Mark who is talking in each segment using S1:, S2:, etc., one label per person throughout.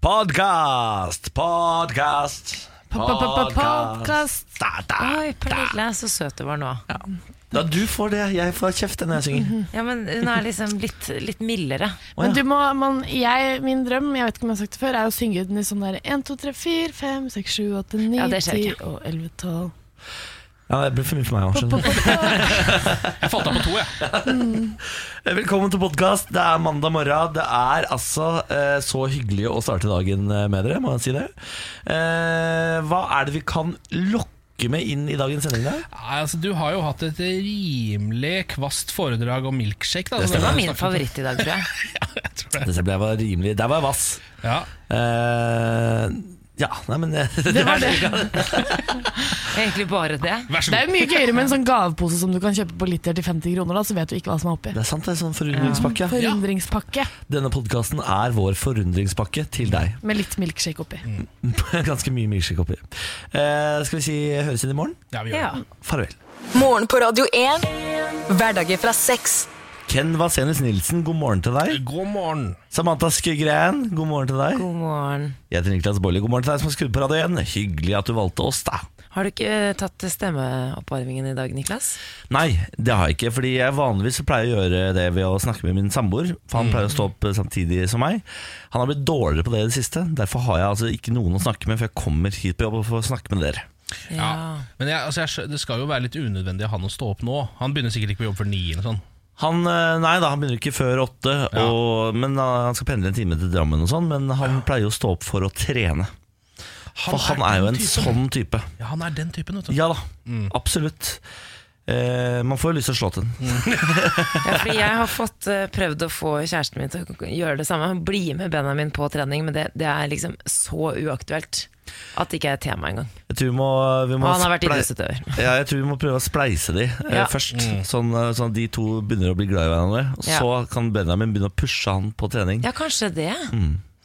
S1: Podkast! Podkast!
S2: Podkast.
S1: Da, da,
S2: Oi,
S1: da.
S2: Pernille er så søt du var nå.
S1: da, du får det. Jeg får kjeft når jeg synger.
S2: Ja, men Hun er liksom litt, litt mildere.
S1: Å,
S3: Mhm. Men
S1: ja.
S3: du må, man, jeg, min drøm jeg vet ikke om jeg har sagt det før, er å synge den i sånn der 1, 2, 3, 4, 5, 6, 7, 8, 9,
S2: Ja, det skjer
S3: 10
S2: ikke.
S3: og 11, 12
S1: ja, det ble for mye for meg òg, skjønner du.
S4: Jeg falt av på to, jeg.
S1: Velkommen til podkast. Det er mandag morgen. Det er altså eh, så hyggelig å starte dagen med dere, må jeg si det. Eh, hva er det vi kan lokke med inn i dagens sending? Der?
S4: Nei, altså, du har jo hatt et rimelig kvast foredrag om milkshake. Da,
S1: Det
S2: Det
S4: så
S1: stemmer.
S2: var
S4: har vi
S2: min
S4: snakket om.
S2: favoritt i dag, tror jeg.
S4: Jeg tror det.
S1: Dette ble jeg var rimelig Der var jeg vass.
S4: Ja.
S1: Eh, ja, nei, men
S3: Det var det.
S2: Egentlig bare det.
S4: Vær så
S3: Det er
S4: god.
S3: jo mye gøyere med en sånn gavepose som du kan kjøpe på Liter til 50 kroner, da, så vet du ikke hva som er oppi.
S1: Det er sant, det er sånn forundringspakke.
S3: Forundringspakke
S1: Denne podkasten er vår forundringspakke til deg.
S3: med litt milkshake oppi.
S1: Mm. Ganske mye milkshake oppi. Eh, skal vi si høres inn i morgen?
S4: Ja, vi gjør
S2: Ja.
S4: det.
S1: Farvel.
S5: Morgen på Radio 1. Hverdager fra seks.
S1: Ken Vasenus Nilsen, god morgen til deg.
S4: God morgen.
S1: Samantha Skygren, god morgen til deg.
S2: God morgen.
S1: Jeg heter Niklas Baarli, god morgen til deg som har skrudd på radio igjen. Hyggelig at du valgte oss, da.
S2: Har du ikke eh, tatt stemmeoppvarmingen i dag, Niklas?
S1: Nei, det har jeg ikke, fordi jeg vanligvis så pleier å gjøre det ved å snakke med min samboer. For han pleier å stå opp eh, samtidig som meg. Han har blitt dårligere på det i det siste. Derfor har jeg altså ikke noen å snakke med, for jeg kommer hit på jobb og får snakke med dere.
S4: Ja. Men jeg, altså, jeg, skjø- det skal jo være litt unødvendig av han å stå opp nå. Han begynner sikkert ikke på jobb før ni. eller sånn
S1: Han, eh, nei da, han begynner ikke før åtte,
S4: Ja.
S1: og, men eh, han skal pendle en time til Drammen og sånn. Men han pleier å stå opp for å trene. For han er jo
S4: den
S1: en
S4: typen. Mm.
S1: sånn type.
S4: Ja, han er den typen, vet du.
S1: Ja da, absolutt. Eh, man får jo lyst til å slå til
S4: Mm.
S1: den.
S2: Ja, fordi jeg har fått eh, prøvd å få kjæresten min til å gjøre det samme. Bli med Benjamin på trening, men det, det er liksom så uaktuelt at det ikke er tema engang.
S1: Jeg tror vi må, vi
S2: Og
S1: må
S2: han har vært
S1: splei-
S2: idrettsutøver.
S1: ja, jeg tror vi må prøve å spleise de eh,
S2: Ja.
S1: først,
S4: Mm.
S1: sånn, eh, sånn at de to begynner å bli glad i hverandre. Og
S2: Ja.
S1: Så kan Benjamin begynne å pushe han på trening.
S2: Ja, kanskje det.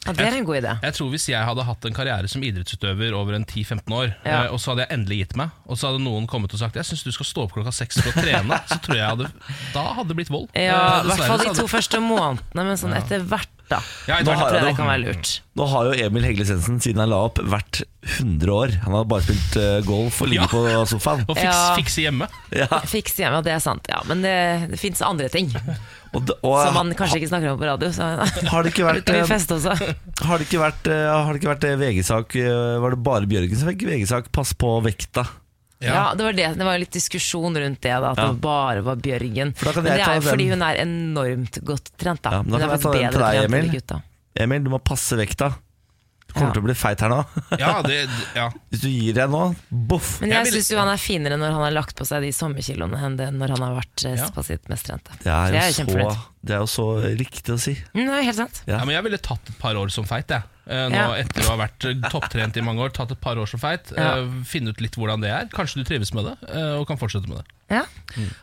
S2: Ja, det er en god idé.
S4: Jeg tror Hvis jeg hadde hatt en karriere som idrettsutøver over en 10-15 år,
S2: Ja.
S4: eh, og så hadde jeg endelig gitt meg, og så hadde noen kommet og sagt Jeg syns du skal stå opp klokka seks for å trene, så tror jeg hadde Da hadde det blitt vold.
S2: Ja,
S4: Eh,
S2: I hvert
S4: dessverre
S2: fall
S4: så
S2: de
S4: hadde-
S2: to første månedene, men sånn etter hvert, da.
S4: Ja,
S1: Nå
S4: etter hvert.
S1: har jeg
S2: Tror jeg
S1: det.
S2: det kan være lurt.
S1: Nå har jo Emil Heglisensen, siden han la opp, vært 100 år. Han har bare spilt eh, golf og ligget på sofaen.
S4: Og fiks,
S2: Ja.
S4: fikse hjemme.
S1: Ja,
S2: Fikse hjemme, det er sant. Ja, men det, det fins andre ting
S1: og, d- og,
S2: som man kanskje ikke snakker om på radio. Så
S1: Har det ikke vært,
S2: det
S1: eh,
S2: blir fest også.
S1: har det ikke vært, eh, har det ikke vært eh, VG-sak eh, Var det bare Bjørgen som fikk VG-sak? Pass på vekta.
S4: Ja.
S2: Ja, det var det. Det var jo litt diskusjon rundt det, da, at
S1: Ja.
S2: det bare var Bjørgen.
S1: For da kan
S2: men
S1: jeg
S2: det
S1: ta
S2: er jo
S1: den.
S2: fordi hun er enormt godt trent, da.
S1: Ja, men da
S2: Hun
S1: kan
S2: er
S1: jeg ta
S2: faktisk
S1: den til
S2: bedre
S1: deg,
S2: trent enn
S1: Emil.
S2: de gutta.
S1: Emil, du må passe vekta. Du kommer
S2: Ja.
S1: til å bli feit her nå.
S4: Ja, det, ja.
S1: Hvis du gir deg nå, boff.
S2: Men
S4: Jeg
S2: jeg
S4: vil-
S2: syns jo han er finere når han har lagt på seg de sommerkiloene enn det når han har vært eh,
S4: Ja.
S2: på sitt mest trente.
S1: Det er,
S2: Så jeg
S1: jo så,
S2: kjempefornøyd.
S1: det er jo så riktig å si.
S2: Mm, det er helt sant.
S1: Ja.
S4: Ja, men jeg ville tatt et par år som feit, jeg. Eh, Nå
S2: Ja.
S4: Etter å ha vært eh, topptrent i mange år. Tatt et par år som feit eh,
S2: Ja.
S4: Finne ut litt hvordan det er. Kanskje du trives med det, eh, og kan fortsette med det.
S2: Ja.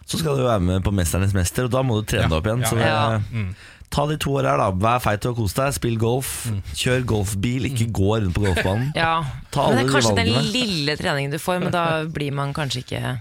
S1: Så skal du være med på Mesternes mester, og da må du trene
S4: Ja. Mm.
S1: deg opp igjen. Så det,
S2: Ja.
S1: Ta de to åra her, da. Vær feit og kos deg. Spill golf.
S4: Mm.
S1: Kjør golfbil, ikke gå rundt på golfbanen.
S2: ja.
S1: Ta alle
S2: Men det er
S1: de
S2: kanskje den
S1: valgene.
S2: lille treningen du får, men da blir man kanskje ikke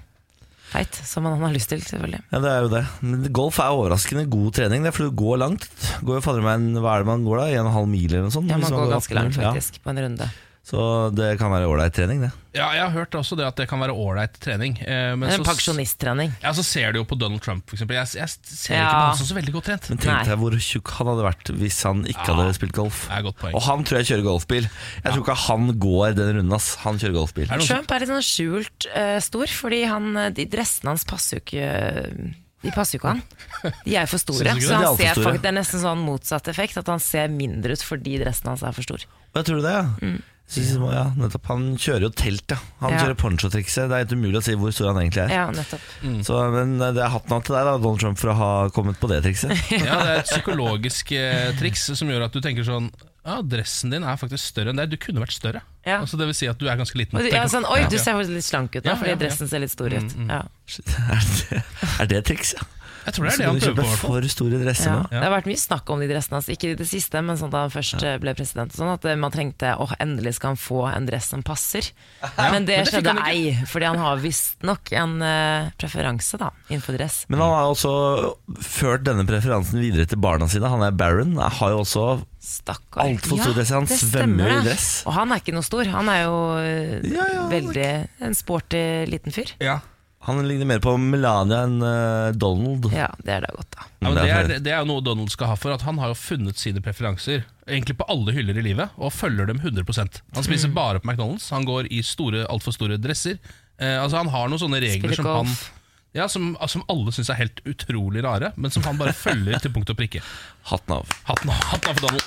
S2: feit, som man har lyst til, selvfølgelig.
S1: Ja, det er jo det. Men golf er overraskende god trening, det er for du går langt. Går jo fader meg en, Hva er det man går da? En og en halv mil eller noe sånt?
S2: Ja,
S1: hvis
S2: man går ganske langt,
S1: 18 mil. Ja.
S2: faktisk, på en runde.
S1: Så det kan være ålreit trening, det.
S4: Ja, jeg har hørt også det at det kan være ålreit trening. eh, Men
S2: Det er en
S4: så,
S2: pensjonisttrening.
S4: ja, så ser du jo på Donald Trump, f.eks. Jeg, jeg ser
S2: Ja.
S4: ikke på han som så veldig godt trent.
S1: Men
S2: Nei.
S1: tenk deg hvor tjukk han hadde vært hvis han ikke
S4: Ja.
S1: hadde spilt golf.
S4: Det er et godt poeng.
S1: Og han tror jeg kjører golfbil. Jeg tror ikke han går den runden, ass. Han kjører golfbil.
S4: Er det noen som,
S2: Trump er litt sånn skjult eh, stor, fordi han, eh, de dressene hans passer jo ikke eh, de passer jo ikke han. De er for store.
S4: Synes du ikke det?
S1: De er
S2: Så han
S1: alt for
S2: ser
S1: store.
S2: faktisk, Det er nesten sånn motsatt effekt, at han ser mindre ut fordi dressen hans er for stor.
S1: Og jeg tror det, ja. Synes jeg må- ja, nettopp. Han kjører jo telt, ja. Han
S2: Mm. Ja.
S1: kjører ponchotrikset. Det er helt umulig å si hvor stor han egentlig er.
S2: Ja, nettopp.
S1: Så, men det er hatten av til deg, da, Donald Trump, for å ha kommet på det trikset.
S4: ja, det er et psykologisk eh, triks som gjør at du tenker sånn Ja, dressen din er faktisk større enn deg. Du kunne vært større.
S2: Ja.
S4: Altså, det vil si at du er ganske liten.
S2: Og du,
S4: Tenk
S2: ja,
S4: om-
S2: sånn, Oi,
S4: Ja.
S2: du ser faktisk litt slank ut nå,
S4: Ja, ja,
S2: fordi
S4: ja. Mm,
S2: dressen ser litt stor ut. Ja.
S1: Shit, Er det, er det triks, ja?
S4: Jeg tror det
S1: Så
S4: er det
S1: kan
S4: han
S1: du
S4: prøver på.
S1: kjøpe
S4: i hvert fall.
S1: for store dresser
S2: Ja.
S1: nå.
S2: Det har vært mye snakk om de dressene hans, ikke i det siste, men sånn da han først eh, ble president. og Sånn at eh, man trengte åh, endelig skal han få en dress som passer. Men det
S4: men det fikk
S2: skjedde
S4: han
S2: ei, fordi han har visstnok en eh, preferanse da, innenfor dress.
S1: Men han har også ført denne preferansen videre til barna sine. Han er Baron. Han har jo også
S2: Stakkar.
S1: Altfor stor dress, han
S2: det
S1: svømmer
S2: stemmer
S1: i
S2: det.
S1: dress.
S2: Og han er ikke noe stor. Han er jo eh,
S1: Ja, ja, han er
S2: veldig en sporty liten fyr.
S4: Ja.
S1: Han ligner mer på Melania enn eh, Donald.
S2: Ja, det er da godt, da.
S4: men det, er,
S1: Mm, det.
S4: det er jo noe Donald skal ha for. At Han har jo funnet sine preferanser Egentlig på alle hyller i livet og følger dem 100 Han spiser bare på McDonald's, han går i store, altfor store dresser. Eh, altså Han har noen sånne regler
S2: Spiller
S4: som, han,
S2: golf.
S4: ja, som, altså, som alle syns er helt utrolig rare, men som han bare følger til punkt og prikke.
S1: Hatten av.
S4: Hatten av hatten av for Donald.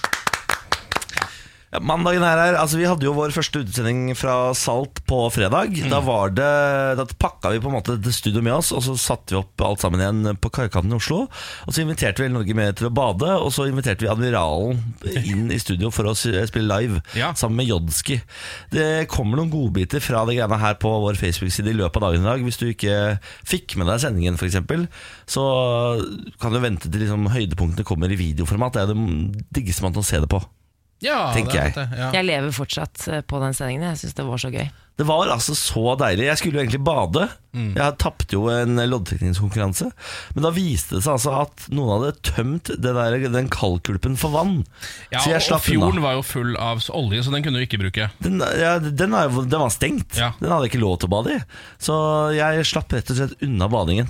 S1: Ja, Mandagen er her, altså Vi hadde jo vår første utsending fra Salt på fredag. Da var det, da pakka vi på en måte det studio med oss, og så satte vi opp alt sammen igjen på kaikanten i Oslo. Og Så inviterte vi hele Norge med til å bade, og så inviterte vi Admiralen inn i studio for å s- spille live
S4: Ja.
S1: sammen med Jodski. Det kommer noen godbiter fra det greiene her på vår Facebook-side i løpet av dagen i dag. Hvis du ikke fikk med deg sendingen, f.eks., så kan du vente til liksom, høydepunktene kommer i videoformat. Det er det diggeste man kan se det på.
S4: Ja,
S1: Tenker
S4: det er
S1: jeg.
S4: det, ja.
S2: Jeg lever fortsatt eh, på den sendingen. Jeg syns det var så gøy.
S1: Det var altså så deilig. Jeg skulle jo egentlig bade.
S4: Mm.
S1: Jeg tapte jo en loddtrekningskonkurranse. Men da viste det seg altså at noen hadde tømt det der, den kaldkulpen for vann.
S4: Ja,
S1: så jeg
S4: og
S1: slapp
S4: fjorden
S1: unna.
S4: var jo full av s- olje, så den kunne du ikke bruke.
S1: Den, ja, den, er jo- den var stengt.
S4: Ja.
S1: Den hadde jeg ikke lov til å bade i. Så jeg slapp rett og slett unna badingen.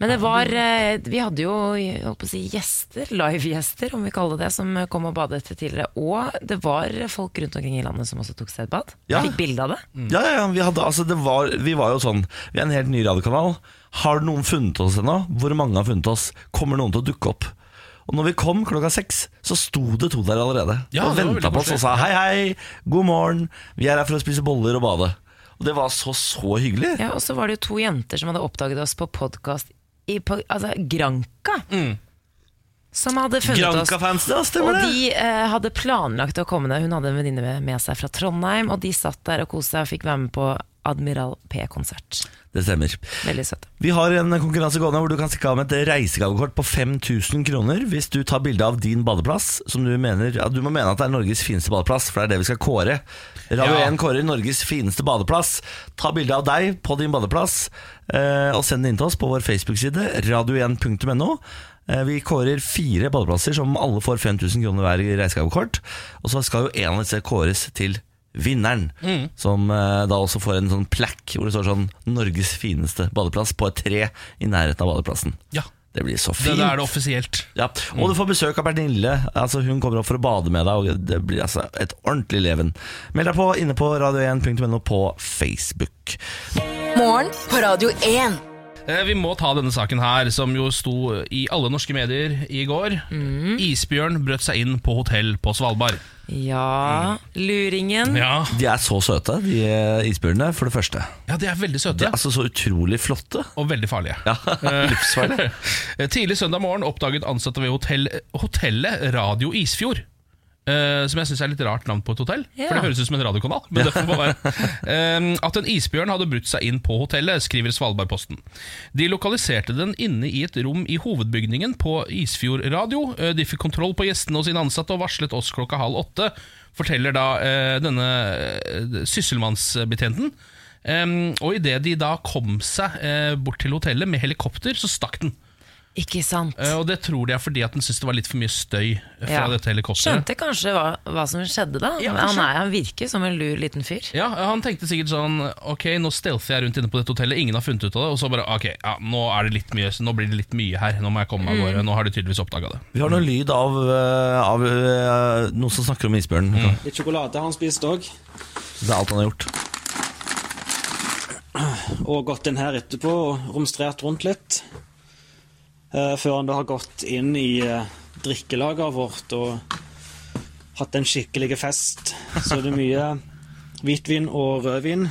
S2: Men det var eh, Vi hadde jo jeg holdt på å si, gjester, live-gjester, om vi kaller det, som kom og badet tidligere. Og det var folk rundt omkring i landet som også tok stedbad.
S1: Ja. Mm.
S2: Jeg Fikk bilde av det.
S1: Ja, ja, ja, vi, hadde, altså, det var, vi var jo sånn Vi er en helt ny radiokanal Har noen funnet oss ennå? Hvor mange har funnet oss? Kommer noen til å dukke opp? Og når vi kom klokka seks Så sto det to der allerede
S4: Ja,
S1: Og
S4: det var
S1: ventet
S4: veldig
S1: på oss og sa
S4: koselig.
S1: Hei, hei, god morgen Vi er her for å spise boller og bade Og det var så, så hyggelig
S2: Ja, Og så var det jo to jenter som hadde oppdaget oss på podkast i på, altså, Granka. Som hadde funnet oss.
S1: Granka-fans, ja,
S2: Og
S1: Mm. stemmer det
S2: de eh, hadde planlagt å komme ned. Hun hadde en venninne med, med seg fra Trondheim, og de satt der og koste seg og fikk være med på Admiral P-konsert.
S1: Det stemmer
S2: Veldig søte.
S1: Vi har en konkurranse gående hvor du kan stikke av med et reisegavekort på 5000 kroner hvis du tar bilde av din badeplass, som du mener ja, Du må mene at det er Norges fineste badeplass, for det er det vi skal kåre. Radio
S4: Ja.
S1: 1 kårer Norges fineste badeplass. Ta bilde av deg på din badeplass, eh, og send det inn til oss på vår Facebook-side, radio1.no. Eh, Vi kårer fire badeplasser som alle får 5000 kroner hver i reisegavekort. Og så skal jo en av disse kåres til vinneren,
S4: Mm.
S1: som eh, da også får en sånn plack hvor det står sånn 'Norges fineste badeplass' på et tre i nærheten av badeplassen.
S4: Ja,
S1: Det blir så
S4: det,
S1: fint.
S4: Da er det offisielt.
S1: ja. Og du får besøk av Pernille. Altså, hun kommer opp for å bade med deg. Og det blir altså et ordentlig leven. Meld deg på inne på radio1.no på Facebook.
S5: Morgen på Radio 1.
S4: Eh, Vi må ta denne saken her, som jo sto i alle norske medier i går. Isbjørn brøt seg inn på hotell på Svalbard.
S1: Mm.
S2: Ja, luringen.
S4: Ja,
S1: De er så søte, de eh, isbjørnene, for det første.
S4: ja de er veldig
S1: De
S4: søte.
S1: er altså så utrolig flotte.
S4: Og veldig farlige.
S1: Ja, Livsfarlig.
S4: Eh, Tidlig søndag morgen oppdaget ansatte ved hotell, hotellet Radio Isfjord. eh, som jeg syns er litt rart navn på et hotell.
S2: Ja.
S4: For det høres ut som en radiokanal. Men det får bare være. Eh, at en isbjørn hadde brutt seg inn på hotellet, skriver Svalbardposten. De lokaliserte den inne i et rom i hovedbygningen på Isfjord radio. Eh, de fikk kontroll på gjestene og sine ansatte og varslet oss klokka halv åtte. Forteller da eh, denne eh, sysselmannsbetjenten. Um, og idet de da kom seg eh, bort til hotellet med helikopter, så stakk den.
S2: Ikke sant?
S4: Eh, og det tror de er fordi at den syntes det var litt for mye støy fra
S2: Ja.
S4: dette helikopteret.
S2: Skjønte kanskje hva, hva som skjedde da.
S4: Ja,
S2: Men
S4: kanskje.
S2: han, er, han virker som en lur liten fyr.
S4: Ja, Han tenkte sikkert sånn Ok, nå stealther jeg rundt inne på dette hotellet, ingen har funnet ut av det. Og så bare ok, ja, nå, er det litt mye, nå blir det litt mye her, nå må jeg komme
S2: Mm.
S4: meg av gårde. Nå har de tydeligvis oppdaga det.
S1: Vi har noe lyd av, eh, av eh, noen som snakker om isbjørnen.
S6: Litt sjokolade har han spist òg,
S1: Det er alt han har gjort.
S6: og gått inn her etterpå og romstrert rundt litt. Eh, før han da har gått inn i eh, drikkelaget vårt og hatt en skikkelig fest. Så det er mye hvitvin og rødvin,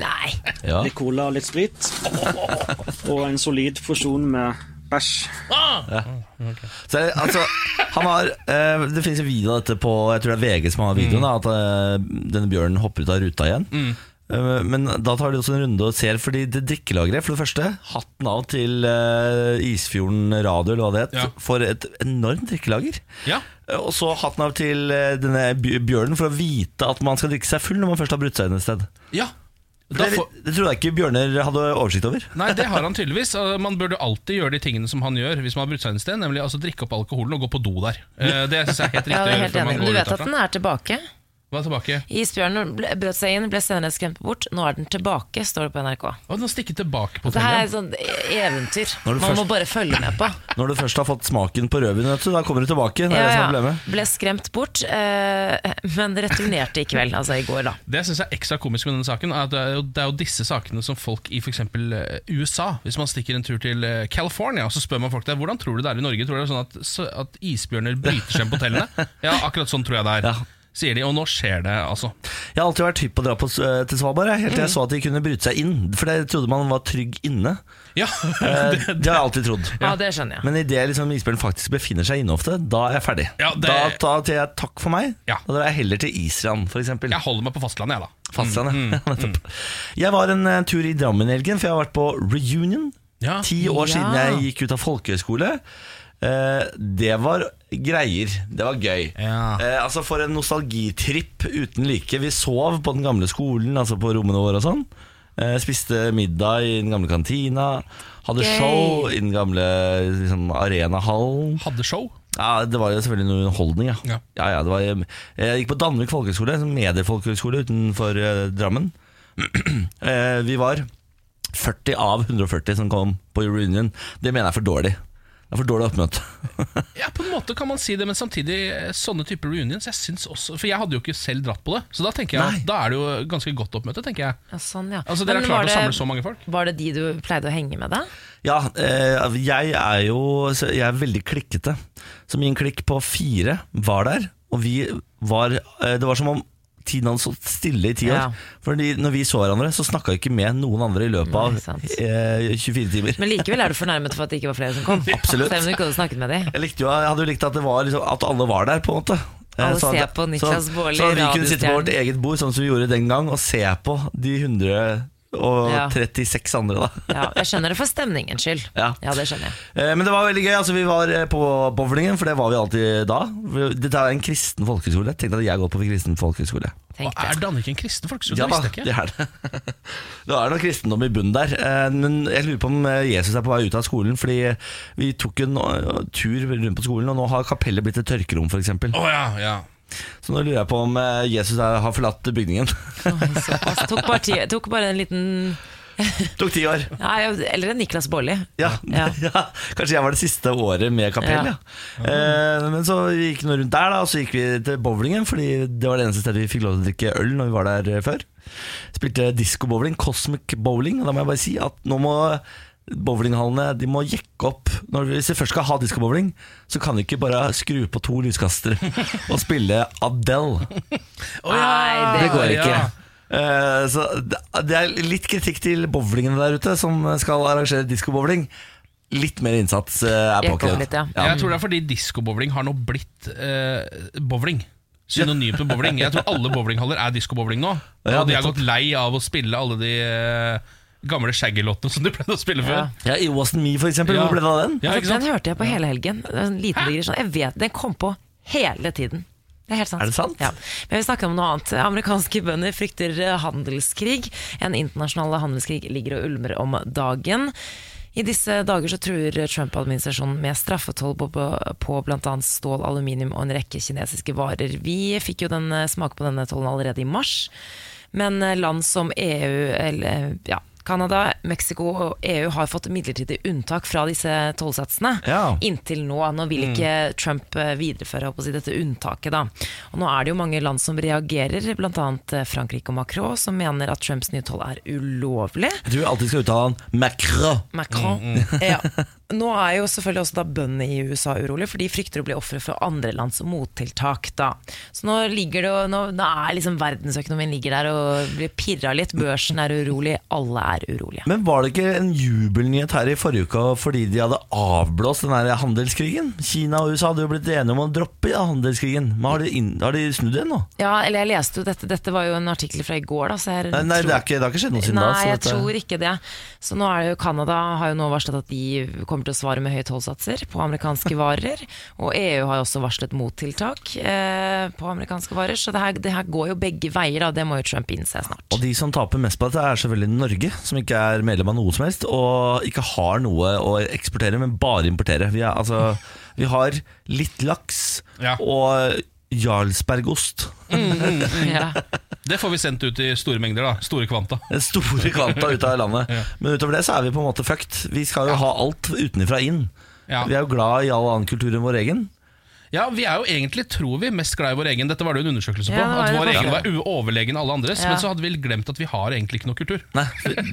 S2: Nei,
S1: Ja.
S6: litt cola og litt sprit. Og en solid porsjon med bæsj.
S1: Så, jeg- altså, han har, eh, det finnes en video av dette på Jeg tror det er VG som har
S4: Mm.
S1: videoen. Da, at eh, denne bjørnen hopper ut av ruta igjen. Eh, men da tar de også en runde og ser, fordi det drikkelageret For det første, hatten av til eh, Isfjorden Radio, eller hva det het,
S4: Ja.
S1: for et enormt drikkelager.
S4: Ja.
S1: Eh, Og så hatten av til eh, denne bj- bjørnen for å vite at man skal drikke seg full når man først har brutt seg inn et sted.
S4: Ja. Da
S1: Det,
S4: får-
S1: det trodde jeg ikke Bjørner hadde oversikt over.
S4: Nei, det har han tydeligvis. Eh, Man burde alltid gjøre de tingene som han gjør hvis man har brutt seg inn et sted, nemlig altså drikke opp alkoholen og gå på do der. Eh, Det synes jeg er helt riktig
S2: Ja,
S4: å
S2: det er
S4: gjøre
S2: helt
S4: før
S2: enig.
S4: man
S2: Du
S4: går ut
S2: vet at
S4: derfra.
S2: den er tilbake?
S4: Hva er tilbake?
S2: Isbjørnen ble- brøt seg inn, ble senere skremt bort. Nå er den tilbake, står det på NRK.
S4: Å, den har stikket tilbake på
S2: Det her er
S4: hotellet.
S2: et sånt eventyr
S1: Når du
S2: man må
S1: først-
S2: bare følge med på.
S1: Når du først har fått smaken på rødvin, vet du, da kommer du tilbake. Det er
S2: Ja,
S1: det som
S2: ja.
S1: er problemet.
S2: Ble skremt bort, eh, men returnerte i kveld, altså i går, da.
S4: Det jeg synes er ekstra komisk med denne saken, er at det er jo, det er jo disse sakene som folk i f.eks. USA Hvis man stikker en tur til eh, California, så spør man folk der hvordan tror du det er i Norge. Tror du det er sånn at, så- at isbjørner bryter seg inn på hotellene? Ja, akkurat sånn tror jeg det er.
S1: Ja.
S4: Sier de, og nå skjer det, altså.
S1: Jeg har alltid vært hypp på å dra på, eh, til Svalbard, jeg, helt til jeg
S4: Mm.
S1: så at de kunne bryte seg inn. For jeg trodde man var trygg inne.
S4: Ja,
S1: Eh,
S4: det,
S1: Det har jeg alltid trodd.
S2: Ja, det skjønner jeg.
S1: Men idet liksom isbjørnen faktisk befinner seg inne ofte, da er jeg ferdig.
S4: Ja, det-
S1: Da tar jeg takk for meg.
S4: Ja.
S1: Da drar jeg heller til Island, f.eks.
S4: jeg holder meg på fastlandet, jeg, da.
S1: Fastlandet. Nettopp. Jeg var en eh, tur i Drammen i helgen, for jeg har vært på reunion.
S4: Ja.
S1: Ti år
S2: Ja.
S1: siden jeg gikk ut av folkehøyskole. Eh, det var greier. Det var gøy.
S4: Ja.
S1: Eh, altså For en nostalgitripp uten like. Vi sov på den gamle skolen, altså på rommene våre og sånn. Eh, spiste middag i den gamle kantina. Hadde
S2: Gøy.
S1: show i den gamle liksom, arenahallen.
S4: Hadde show.
S1: Ja, Det var jo selvfølgelig noe underholdning. Ja.
S4: Ja.
S1: Ja. Ja, det var, eh, jeg gikk på Danvik folkehøgskole, en mediefolkehøgskole utenfor eh, Drammen. Eh, vi var 40 av 140 som kom på reunion. Det mener jeg er for dårlig. Det er for dårlig oppmøte.
S4: Ja, på en måte kan man si det, men samtidig eh, sånne typer reunions jeg synes også, For jeg hadde jo ikke selv dratt på det, så da tenker jeg
S1: Nei.
S4: at da er det jo ganske godt oppmøte. tenker jeg
S2: Ja, sånn, ja.
S4: Altså Dere
S2: Men
S4: har klart
S2: var
S4: å
S2: det-
S4: samle så mange folk?
S2: Var det de du pleide å henge med, da?
S1: Ja, eh, jeg er jo så Jeg er veldig klikkete. Så min klikk på fire var der, og vi var eh, Det var som om tiden hadde stått stille i ti år.
S2: Ja.
S1: Fordi når vi så hverandre, så snakka vi ikke med noen andre i løpet
S2: Nei,
S1: av
S2: sant.
S1: eh, 24 timer.
S2: Men likevel er du fornærmet for at det ikke var flere som kom.
S1: Absolutt.
S2: Selv om du ikke hadde snakket med dem.
S1: Jeg, likte jo, jeg hadde jo likt at, det var liksom, at alle var der, på en måte. Eh,
S2: Alle
S1: så at-
S2: ser på Niklas Baarli,
S1: Så, så vi kunne sitte på
S2: radiostjernen.
S1: vårt eget bord, sånn som vi gjorde den gang, og se på de 136 andre, da.
S2: Ja, jeg skjønner det for stemningens skyld.
S1: Ja.
S2: ja det skjønner jeg.
S1: Eh, Men det var veldig gøy. altså Vi var eh, på bowlingen, for det var vi alltid da. Dette er en kristen folkehøyskole. Tenkte at jeg går på kristen folkehøyskole.
S2: Tenk
S4: Og
S2: det.
S4: er Danvik en kristen folkeskole?
S1: Ja
S4: det
S1: da,
S4: visste jeg ikke.
S1: det er det. Det er noe kristendom i bunnen der. eh, Men jeg lurer på om eh, Jesus er på vei ut av skolen, fordi vi tok en eh, tur rundt på skolen, og nå har kapellet blitt et tørkerom, f.eks.
S4: Å ja, ja.
S1: Så nå lurer jeg på om eh, Jesus er, har forlatt bygningen.
S2: Såpass. altså, Tok bare, ti, tok bare en liten
S1: tok ti år.
S2: Nei, Eller en Niklas Baarli.
S1: Ja, ja.
S2: Ja.
S1: Kanskje jeg var det siste året med kapell, ja. Eh, men så gikk vi nå rundt der, da, og så gikk vi til bowlingen, fordi det var det eneste stedet vi fikk lov til å drikke øl når vi var der eh, før. Spilte disco-bowling, cosmic bowling, og da må jeg bare si at nå må bowlinghallene de må jekke opp. Når vi, hvis vi først skal ha disco-bowling, så kan vi ikke bare skru på to lyskastere og spille Adele.
S4: Å ja,
S2: Nei, det
S1: går ikke.
S4: ja.
S1: Eh, Så det det er litt kritikk til bowlingene der ute, som skal arrangere disco-bowling. Litt mer innsats eh, er
S2: Jeg kommer
S1: påkrevd.
S2: litt, ja.
S4: Jeg tror det er fordi diskobowling har nå blidt eh, bowling. Synonymt med bowling. Jeg tror alle bowlinghaller er diskobowling nå.
S1: Ja,
S4: og de har
S1: nettopp.
S4: gått lei av å spille alle de eh, gamle shaggy-låtene som de pleide å spille før.
S2: Ja.
S1: Ja, It Wasn't Me, for eksempel.
S4: Ja.
S1: Hvor ble det av den?
S4: Ja, ikke
S2: Altså, den
S4: sant?
S2: hørte jeg på hele helgen. Det var En liten digresjon. Jeg vet, Den kom på hele tiden. Det er helt sant.
S1: Er det sant?
S2: Ja. Men vi snakker om noe annet. Amerikanske bønder frykter eh, handelskrig. En internasjonal handelskrig ligger og ulmer om dagen. I disse dager så truer Trump-administrasjonen med straffetoll på, på, på bl.a. stål, aluminium og en rekke kinesiske varer. Vi fikk jo den eh, smake på denne tollen allerede i mars, men eh, land som EU eller, eh, ja, Canada, Mexico og EU har fått midlertidig unntak fra disse tollsatsene
S1: Ja.
S2: inntil nå. Nå vil
S1: Mm.
S2: ikke Trump eh, videreføre holdt på å si, dette unntaket. Da. Og nå er det jo mange land som reagerer, bl.a. Frankrike og Macron, som mener at Trumps nye toll er ulovlig.
S1: Jeg tror vi alltid skal uttale han Macron.
S2: Macron.
S1: Mm,
S2: ja. Nå er jo selvfølgelig også da bøndene i USA urolige, for de frykter å bli ofre for andre lands mottiltak. da. Så nå ligger det jo, nå, nå er liksom verdensøkonomien ligger der og blir pirra litt, børsen er urolig, alle er urolige.
S1: Men var det ikke en jubelnyhet her i forrige uke fordi de hadde avblåst den her handelskrigen? Kina og USA hadde jo blitt enige om å droppe ja, handelskrigen. Men har de, inn, har de snudd igjen nå?
S2: Ja, eller jeg leste jo dette, dette var jo en artikkel fra i går, da, så jeg
S1: Nei, nei
S2: tror-
S1: det, er ikke, det har ikke skjedd noe siden da.
S2: Nei,
S1: så
S2: jeg
S1: dette-
S2: tror ikke det. Så nå er det jo Canada har jo nå varslet at de kommer til å svare med høye tollsatser på amerikanske varer. Og EU har også varslet mottiltak eh, på amerikanske varer. Så det her, det her går jo begge veier, da. Det må jo Trump innse snart.
S1: Og de som taper mest på dette, er selvfølgelig Norge, som ikke er medlem av noe som helst, og ikke har noe å eksportere, men bare importere. Vi, er, altså, vi har litt laks
S4: Ja.
S1: og jarlsbergost.
S2: Ja.
S4: Det får vi sendt ut i store mengder, da. Store kvanta.
S1: Den store kvanta ut av landet. Men utover det så er vi på en måte fucked. Vi skal jo ha alt utenfra inn.
S4: Ja.
S1: Vi er jo glad i all annen kultur enn vår egen.
S4: Ja, Vi er jo egentlig, tror vi, mest glad i vår egen. Dette var det jo en undersøkelse på.
S2: Ja, det var
S4: at
S2: det
S4: vår
S2: faktisk.
S4: egen var u- overlegen alle andres.
S2: Ja.
S4: Men så hadde vi glemt at vi har egentlig ikke noe kultur.
S1: Nei,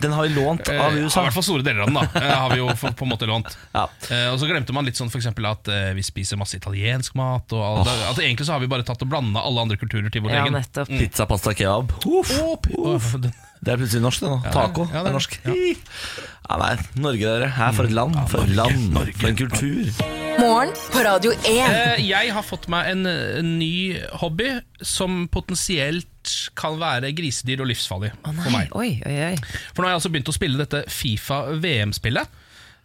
S1: den har vi lånt
S4: Eh,
S1: av
S4: I
S1: USA.
S4: hvert fall store deler av den, da. Eh, har vi jo f- på en måte lånt.
S1: Ja.
S4: Eh, og så glemte man litt sånn for eksempel at eh, vi spiser masse italiensk mat. Og all, At Egentlig så har vi bare tatt og blanda alle andre kulturer til vår
S2: ja,
S4: egen.
S2: nettopp.
S1: Pizza, pasta, kebab. Uff.
S4: Å, p- å, den-
S1: Det er plutselig norsk, det nå. Taco
S4: ja, det Mm. er
S1: er norsk. Hi. Ja, nei, Norge, dere. Her for et land. For et land. For en kultur.
S5: Morgen på Radio 1.
S4: Eh, Jeg har fått meg en, en ny hobby som potensielt kan være grisedyr og livsfarlig
S2: Å
S4: for
S2: nei,
S4: meg.
S2: oi, oi, oi.
S4: For nå har jeg altså begynt å spille dette Fifa VM-spillet.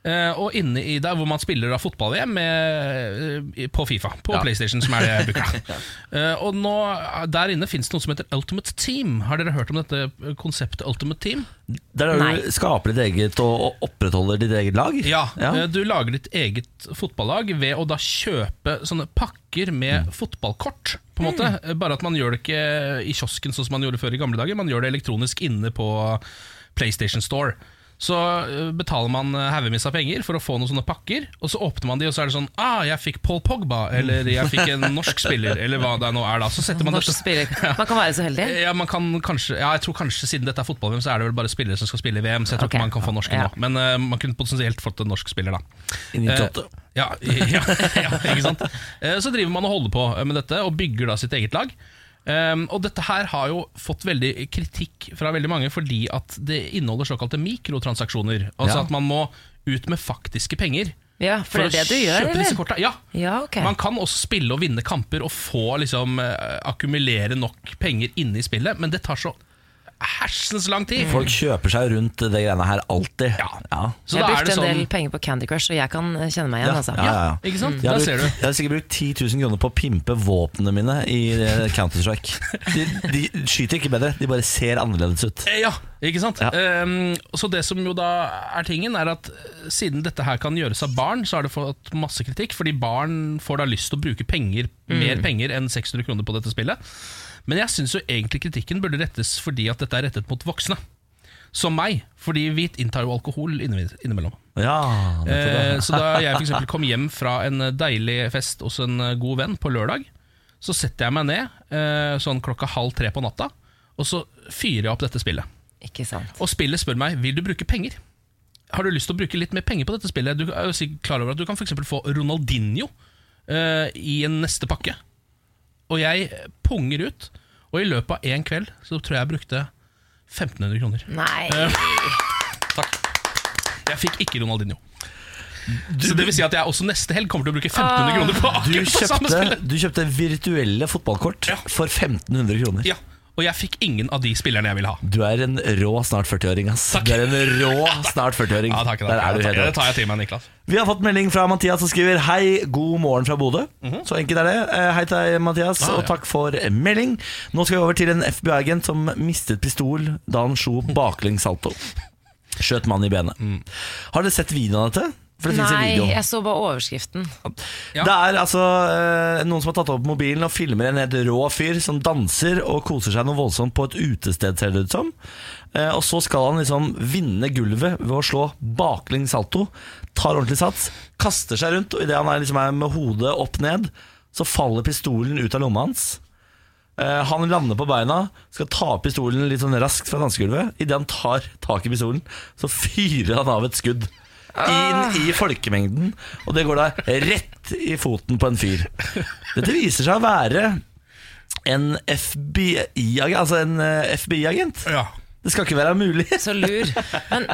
S4: eh, og inne i der hvor man spiller da fotball-VM med- eh, på Fifa. På PlayStation, som er det jeg bruker. Eh, og nå, der inne fins det noe som heter Ultimate Team. Har dere hørt om dette eh, konseptet Ultimate Team?
S1: Der er
S2: Nei.
S1: du skaper ditt eget og og opprettholder ditt eget lag.
S4: Ja,
S1: Ja.
S4: eh, Du lager ditt eget fotballag ved å da kjøpe sånne pakker
S2: Mm.
S4: med fotballkort. på en måte Eh, Bare at man gjør det ikke i kiosken sånn som man gjorde før i gamle dager. Man gjør det elektronisk inne på PlayStation Store. Så eh, betaler man eh, haugevis av penger for å få noen sånne pakker, og så åpner man de, og så er det sånn Ah, jeg fikk Paul Pogba, eller jeg fikk en norsk spiller, eller hva det nå er Eh, da. Så setter man
S2: Norsk
S4: dette
S2: spiller. Man kan være så heldig.
S4: ja, man kan kanskje, ja, jeg tror kanskje siden dette er fotball-VM, så er det vel bare spillere som skal spille i VM. Så jeg tror
S2: Ok.
S4: ikke man kan få norske
S2: Ja.
S4: nå. Men eh, man kunne potensielt fått en norsk spiller, da.
S1: I 98.
S4: Eh, ja, ja, ja, ikke sant? Eh, Så driver man og holder på med dette, og bygger da sitt eget lag. Ehm, og dette her har jo fått veldig kritikk fra veldig mange fordi at det inneholder såkalte mikrotransaksjoner. Altså
S1: Ja.
S4: at man må ut med faktiske penger.
S2: Ja, for det er det du gjør,
S4: kjøpe disse
S2: eller?
S4: korta. Ja,
S2: Ja, ok.
S4: man kan også spille og vinne kamper og få liksom eh, akkumulere nok penger inne i spillet, men det tar så hersens lang tid.
S1: Folk kjøper seg rundt det greiene her alltid.
S4: Ja.
S1: Ja.
S4: Så
S2: jeg
S4: da er
S2: brukte
S4: det sånn
S2: en del penger på Candy Crush, og jeg kan eh, kjenne meg igjen.
S1: Ja,
S2: altså.
S1: ja, ja, ja.
S4: Ikke sant?
S1: Jeg har,
S4: Da ser
S1: brukt,
S4: du.
S1: jeg har sikkert brukt 10 000 kroner på å pimpe våpnene mine i eh, Counter-Strike. De, de skyter ikke bedre, de bare ser annerledes ut.
S4: Eh, Ja, ikke sant?
S1: Ja.
S4: Ehm, så det som jo da er tingen, er at eh, siden dette her kan gjøres av barn, så har det fått masse kritikk, fordi barn får da lyst til å bruke penger,
S1: Mm.
S4: mer penger enn 600 kroner på dette spillet. Men jeg syns jo egentlig kritikken burde rettes fordi at dette er rettet mot voksne. Som meg, fordi vi inntar jo alkohol inni- innimellom.
S1: Ja, nettopp,
S4: Eh,
S1: ja.
S4: så da jeg for eksempel kom hjem fra en deilig fest hos en god venn på lørdag, så setter jeg meg ned eh, sånn klokka halv tre på natta, og så fyrer jeg opp dette spillet.
S2: Ikke sant.
S4: Og spillet spør meg Vil du bruke penger? Har du lyst til å bruke litt mer penger på dette spillet? Du er jo sikkert klar over at du kan for eksempel få Ronaldinho eh, i en neste pakke. Og jeg punger ut, og i løpet av én kveld så tror jeg jeg brukte 1500 kroner.
S2: Nei.
S4: Jeg fikk ikke Ronaldinho. så det vil si at jeg også neste helg kommer til å bruke 1500 kroner på
S1: Du
S4: akkurat det samme
S1: kjøpte,
S4: spillet!
S1: du kjøpte virtuelle fotballkort
S4: Ja.
S1: for 1500 kroner.
S4: Ja, og jeg fikk ingen av de spillerne jeg ville ha.
S1: Du er en rå snart 40-åring, ass.
S4: Takk.
S1: Du er en rå snart 40-åring.
S4: Ja, takk, takk,
S1: Der er du
S4: takk.
S1: helt
S4: det
S1: rå.
S4: tar jeg til meg, Niklas.
S1: Vi har fått melding fra Mathias som skriver Hei, god morgen fra Bodø Så enkelt er det Eh, Hei til deg Mathias
S4: Mhm. Ah, ja.
S1: Og takk for melding Nå skal vi over til en FBI-agent som mistet pistol Da han slo baklengssalto Skjøt mann i benet
S4: Mm.
S1: Har dere sett videoen av dette? For det finnes en
S2: Nei,
S1: video
S2: jeg så bare overskriften.
S4: Ja.
S1: Det er altså eh, noen som har tatt opp mobilen og filmer en helt rå fyr som danser og koser seg noe voldsomt på et utested, ser det ut som. Eh, og så skal han liksom vinne gulvet ved å slå baklengs salto, tar ordentlig sats, kaster seg rundt, og idet han er, liksom er med hodet opp ned, så faller pistolen ut av lomma hans. Eh, han lander på beina, skal ta opp pistolen litt sånn raskt fra dansegulvet. Idet han tar tak i pistolen, så fyrer han av et skudd. Inn i folkemengden, og det går da rett i foten på en fyr. Dette viser seg å være en FBI-agent. Altså en FBI-agent.
S4: Ja.
S1: Det skal ikke være mulig.
S2: Så lur. Men,